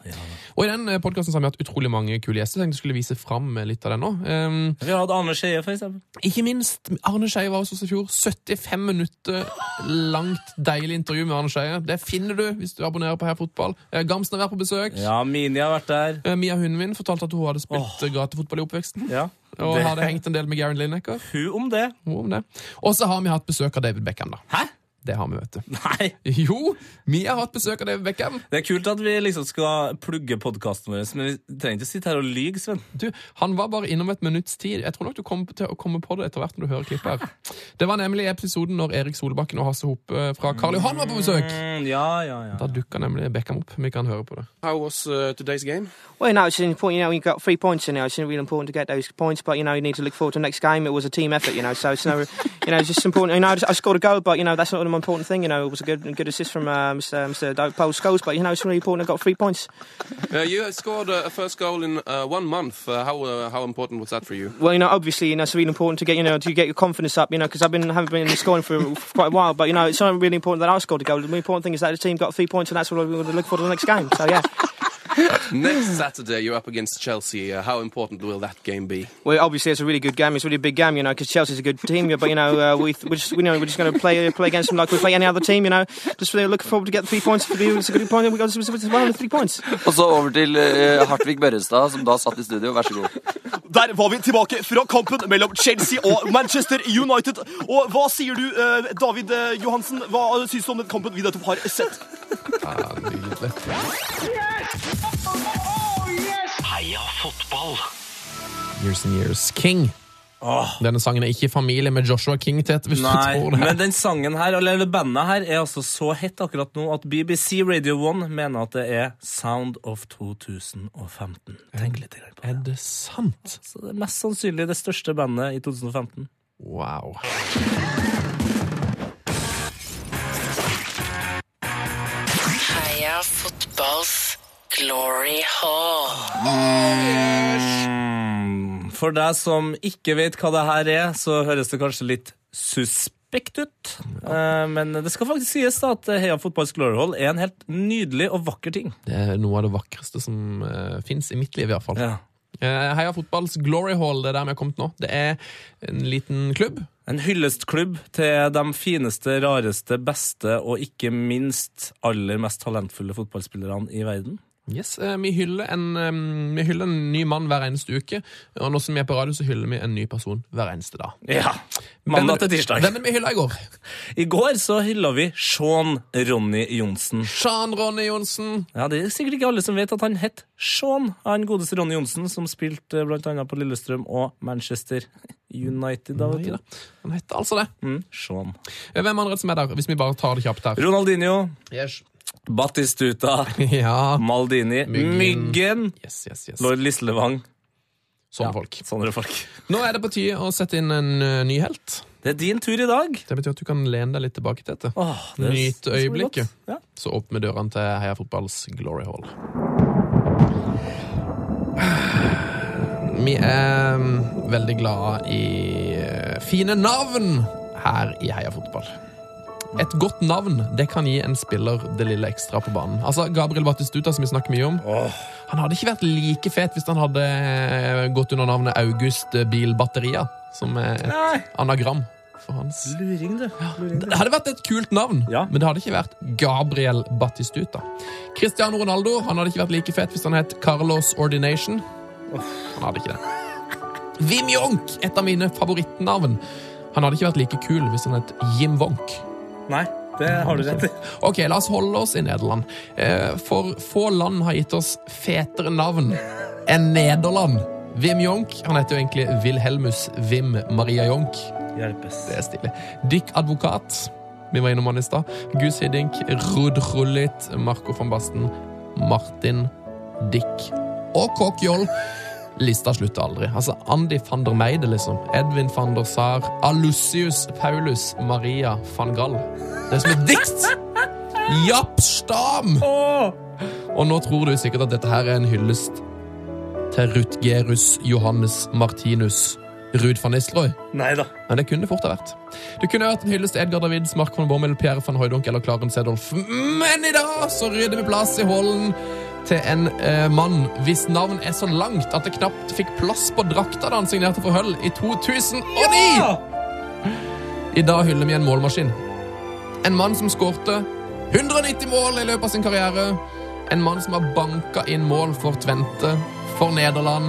[SPEAKER 4] Og i den podkasten har vi hatt utrolig mange kule gjester. Jeg tenkte jeg skulle vise fram eh, litt av den nå. Eh,
[SPEAKER 3] Vi har hatt Arne Skeie, for eksempel.
[SPEAKER 4] Ikke minst Arne Skeie var hos oss i fjor. 75 minutter langt deilig intervju med Arne Skeie. Det finner du hvis du abonnerer på Her Fotball. Eh, Gamsen har vært på besøk.
[SPEAKER 3] Ja, Mini har vært der.
[SPEAKER 4] Eh, Mia hunden min fortalte at hun hadde spilt eh, gatefotball i oppveksten.
[SPEAKER 3] Ja.
[SPEAKER 4] Og
[SPEAKER 3] Det-
[SPEAKER 4] hadde hengt en del med Gary Lineker.
[SPEAKER 3] Hun om det.
[SPEAKER 4] Hun om det. Og så har vi hatt besøk av David Beckham, da.
[SPEAKER 3] Hæ?
[SPEAKER 4] Det har vi, vet du.
[SPEAKER 3] Nei!
[SPEAKER 4] Jo, vi har hatt besøk av David Beckham.
[SPEAKER 3] Det er kult at vi liksom skal plugge podkasten vår, men vi trenger ikke å sitte her og lyge, Sven.
[SPEAKER 4] Du, han var bare innom et minutts tid. Jeg tror nok du kommer til å komme på det etter hvert når du hører klippet. her. Det var nemlig episoden når Erik Solbakken og Hasse Hoppe fra Karl Johan var på besøk.
[SPEAKER 3] Mm, ja, ja, ja.
[SPEAKER 4] Da dukka nemlig Beckham opp. Vi kan høre på det.
[SPEAKER 8] How was uh, today's game?
[SPEAKER 9] Well, you know, it's important, you know, you got three points in now. It's really important to get those points, but, you know, you need to look forward to the next game. It was a team effort, you know, so it's no, you know, it's just important. You know, I scored a goal, but, you know, that's not the most important thing. You know, it was a good good assist from uh, Mr. Mr. Do- Paul Scholes, but, you know, it's really important I got three points.
[SPEAKER 8] Uh, you have scored uh, a first goal in uh, one month. Uh, how uh, how important was that for you?
[SPEAKER 9] Well, you know, obviously, you know, it's really important to get, you know, to get your confidence up, you know, because I've been, haven't been scoring for, for quite a while, but, you know, it's not really important that I scored a goal. The important thing is that the team got three points, and that's what we to look for to the next game. So, yeah.
[SPEAKER 8] Next Saturday, you're up against Chelsea. Uh, how important will that game be?
[SPEAKER 9] Well, obviously it's a really good game. It's a really big game, you know, because Chelsea's a good team. yeah, But you know, uh, we we're just, you know, we're just going to play play against them like we play any other team. You know, just really looking forward to get the three points. For the, it's a good point. We got it's one of the three points.
[SPEAKER 10] Og så over til eh, Hartvig Børrestad, som da satt i studio. Vær så god.
[SPEAKER 11] Der var vi tilbake fra kampen mellom Chelsea og Manchester United. Og hva sier du, eh, David eh, Johansen? Hva syns du om den kampen vi nettopp har sett?
[SPEAKER 4] Ja, Ah, nydelig.
[SPEAKER 2] Heia fotball!
[SPEAKER 4] Years and Years King.
[SPEAKER 3] Åh.
[SPEAKER 4] Denne sangen er ikke i familie med Joshua King, Tete, hvis du
[SPEAKER 3] Nei,
[SPEAKER 4] tror det.
[SPEAKER 3] men den sangen her, eller det bandet her, er altså så hett akkurat nå at BBC Radio 1 mener at det er Sound of 2015. Tenk litt grann på det.
[SPEAKER 4] Er det sant?
[SPEAKER 3] Så det er mest sannsynlig det største bandet i 2015.
[SPEAKER 4] Wow.
[SPEAKER 12] Heia fotballs glory hall.
[SPEAKER 3] For deg som ikke vet hva det her er, så høres det kanskje litt suspekt ut. Eh, Men det skal faktisk sies da at Heia Fotballs Glory Hall er en helt nydelig og vakker ting.
[SPEAKER 4] Det er noe av det vakreste som uh, fins i mitt liv, i hvert Eh, fall. Eh, Heia fotballs Glory Hall, det er der vi har kommet nå. Det er en liten klubb
[SPEAKER 3] En hyllestklubb til de fineste, rareste, beste og ikke minst aller mest talentfulle fotballspillerne i verden.
[SPEAKER 4] Yes, eh, vi hyller, en, eh, vi hyller en ny mann hver eneste uke, og nå som vi er på radio, så hyller vi en ny person hver eneste dag.
[SPEAKER 3] Ja. Mandag
[SPEAKER 4] Hvem-
[SPEAKER 3] til tirsdag.
[SPEAKER 4] Hvem er det vi hylla i går?
[SPEAKER 3] I går så hylla vi Sean Ronny Johnsen.
[SPEAKER 4] Sean Ronny Johnsen.
[SPEAKER 3] Ja, Det er sikkert ikke alle som vet at han het Sean. Han godeste Ronny Johnsen, som spilte eh, blant annet på Lillestrøm og Manchester United. da,
[SPEAKER 4] Nei
[SPEAKER 3] vet
[SPEAKER 4] da.
[SPEAKER 3] du.
[SPEAKER 4] Han heter altså det.
[SPEAKER 3] Mm, Sean.
[SPEAKER 4] Eh, Hvem andre som er der, hvis vi bare tar det kjapt her?
[SPEAKER 3] Ronaldinho.
[SPEAKER 4] Yes.
[SPEAKER 3] Battistuta. Maldini.
[SPEAKER 4] Myggen.
[SPEAKER 3] Myggen.
[SPEAKER 4] Yes, yes, yes.
[SPEAKER 3] Lord Lislevang.
[SPEAKER 4] Sånne folk.
[SPEAKER 3] Sånne folk.
[SPEAKER 4] Nå er det på tide å sette inn en eh, ny helt.
[SPEAKER 3] Det er din tur i dag.
[SPEAKER 4] Det betyr at du kan lene deg litt tilbake til dette.
[SPEAKER 3] Åh, det er- det
[SPEAKER 4] Nyt
[SPEAKER 3] skal bli
[SPEAKER 4] øyeblikket.
[SPEAKER 3] godt. Ja.
[SPEAKER 4] Så opp med dørene til Heia Fotballs Glory Hall. Vi er mm, veldig glad i eh, fine navn her i Heia Fotball. Et godt navn det kan gi en spiller det lille ekstra på banen. Altså Gabriel Batistuta, som vi snakker mye om, han hadde ikke vært like fet hvis han hadde eh, gått under navnet August Bil Batteria, som er et
[SPEAKER 3] Nei.
[SPEAKER 4] anagram for hans
[SPEAKER 3] Luring, du. Luring,
[SPEAKER 4] det hadde vært et kult navn, men det hadde ikke vært Gabriel Batistuta. Cristiano Ronaldo han hadde ikke vært like fett hvis han het Carlos Ordination. Han hadde ikke det. Wim Jonk, et av mine favorittnavn. Han hadde ikke vært like kul hvis han het Jim Wonk.
[SPEAKER 3] Nei, det har du rett i.
[SPEAKER 4] Ok, la oss holde oss i Nederland. Eh, For få land har gitt oss fetere navn enn Nederland. Wim Jonk, han heter jo egentlig Wilhelmus Wim Maria Jonk.
[SPEAKER 3] Hjelpes.
[SPEAKER 4] Det er stilig. Dick Advokat, vi var innom han i stad. Gus Hiddink, Rudd Rullit, Marco van Basten, Martin, Dick og Kåk Joll. Lista slutter aldri. Altså Andy van der Meide, liksom. Edvin van der Sar. Alussius Paulus Maria van Gall. Det er som et dikt! Japp Stam! Og nå tror du sikkert at dette her er en hyllest til Rutgerus Johannes Martinus Ruud van Nistelrooy.
[SPEAKER 3] Nei da.
[SPEAKER 4] Men det kunne det fort ha vært. Det kunne vært en hyllest til Edgar Davids, Mark von Bommel, Pierre van Hooydonk eller Klaren Sedolf. Men i dag så rydder vi plass i hallen til en eh, mann hvis navn er så langt at det knapt fikk plass på drakta da han signerte for Hull i 2009! I dag hyller vi en målmaskin. En mann som skårte 190 mål i løpet av sin karriere. En mann som har banka inn mål for Tvente, for Nederland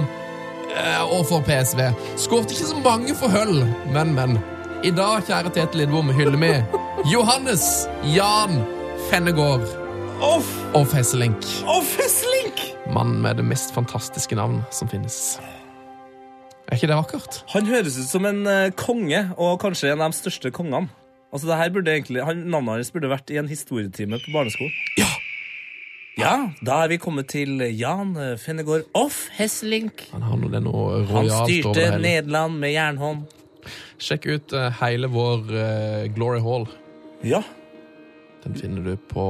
[SPEAKER 4] eh, og for PSV. Skårte ikke så mange for Hull, men, men. I dag, kjære Tete Lidbom, hyller vi Johannes Jan Fennegård.
[SPEAKER 3] Off!
[SPEAKER 4] Off Hesselink.
[SPEAKER 3] Off Hesselink!
[SPEAKER 4] Mannen med det mest fantastiske navn som finnes. Er ikke det vakkert?
[SPEAKER 3] Han høres ut som en eh, konge, og kanskje en av de største kongene. Altså, det her burde egentlig, han, Navnet hans burde vært i en historietime på barneskolen. Ja! Ja, Da er vi kommet til Jan eh, Fennegård Off Hesselink.
[SPEAKER 4] Han har nå det noe
[SPEAKER 3] Han
[SPEAKER 4] rojalt over det
[SPEAKER 3] styrte
[SPEAKER 4] hele.
[SPEAKER 3] Nederland med jernhånd.
[SPEAKER 4] Sjekk ut eh, hele vår eh, Glory Hall.
[SPEAKER 3] Ja.
[SPEAKER 4] Den finner du på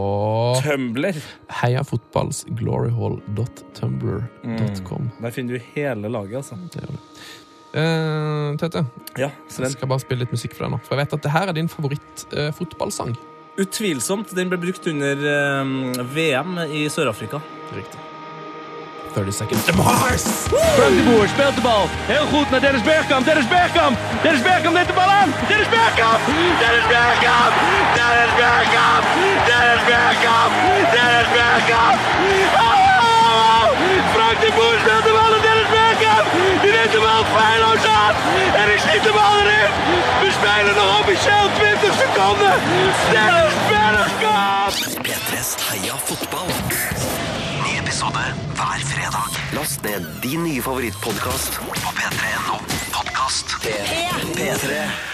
[SPEAKER 3] Tumblr.
[SPEAKER 4] heiafotballsgloryhall.tumblr.com.
[SPEAKER 3] Der finner du hele laget, altså. Mm.
[SPEAKER 4] Eh, Tete,
[SPEAKER 3] Ja,
[SPEAKER 4] jeg skal bare spille litt musikk for deg nå. For jeg vet at det her er din eh, favorittfotballsang.
[SPEAKER 3] Utvilsomt. Den ble brukt under eh, VM i Sør-Afrika.
[SPEAKER 4] Riktig. 30 seconds to Mars!
[SPEAKER 5] Frank de Boer speelt de bal. Heel goed naar Dennis Bergkamp. Dennis Bergkamp. Dennis Bergkamp neemt de bal aan. Dennis Bergkamp. Dennis Bergkamp. Dennis Bergkamp. Dennis Bergkamp. Dennis Bergkamp. Oh! Frank de Boer speelt de bal aan Dennis Bergkamp. Die neemt de bal feilloos aan. En die schiet de bal erin. We spelen nog officieel 20 seconden. Dennis Bergkamp.
[SPEAKER 2] P3s Heia fotball. Ny episode hver fredag. Last ned din nye favorittpodkast på p3.no podkast. P3. P3.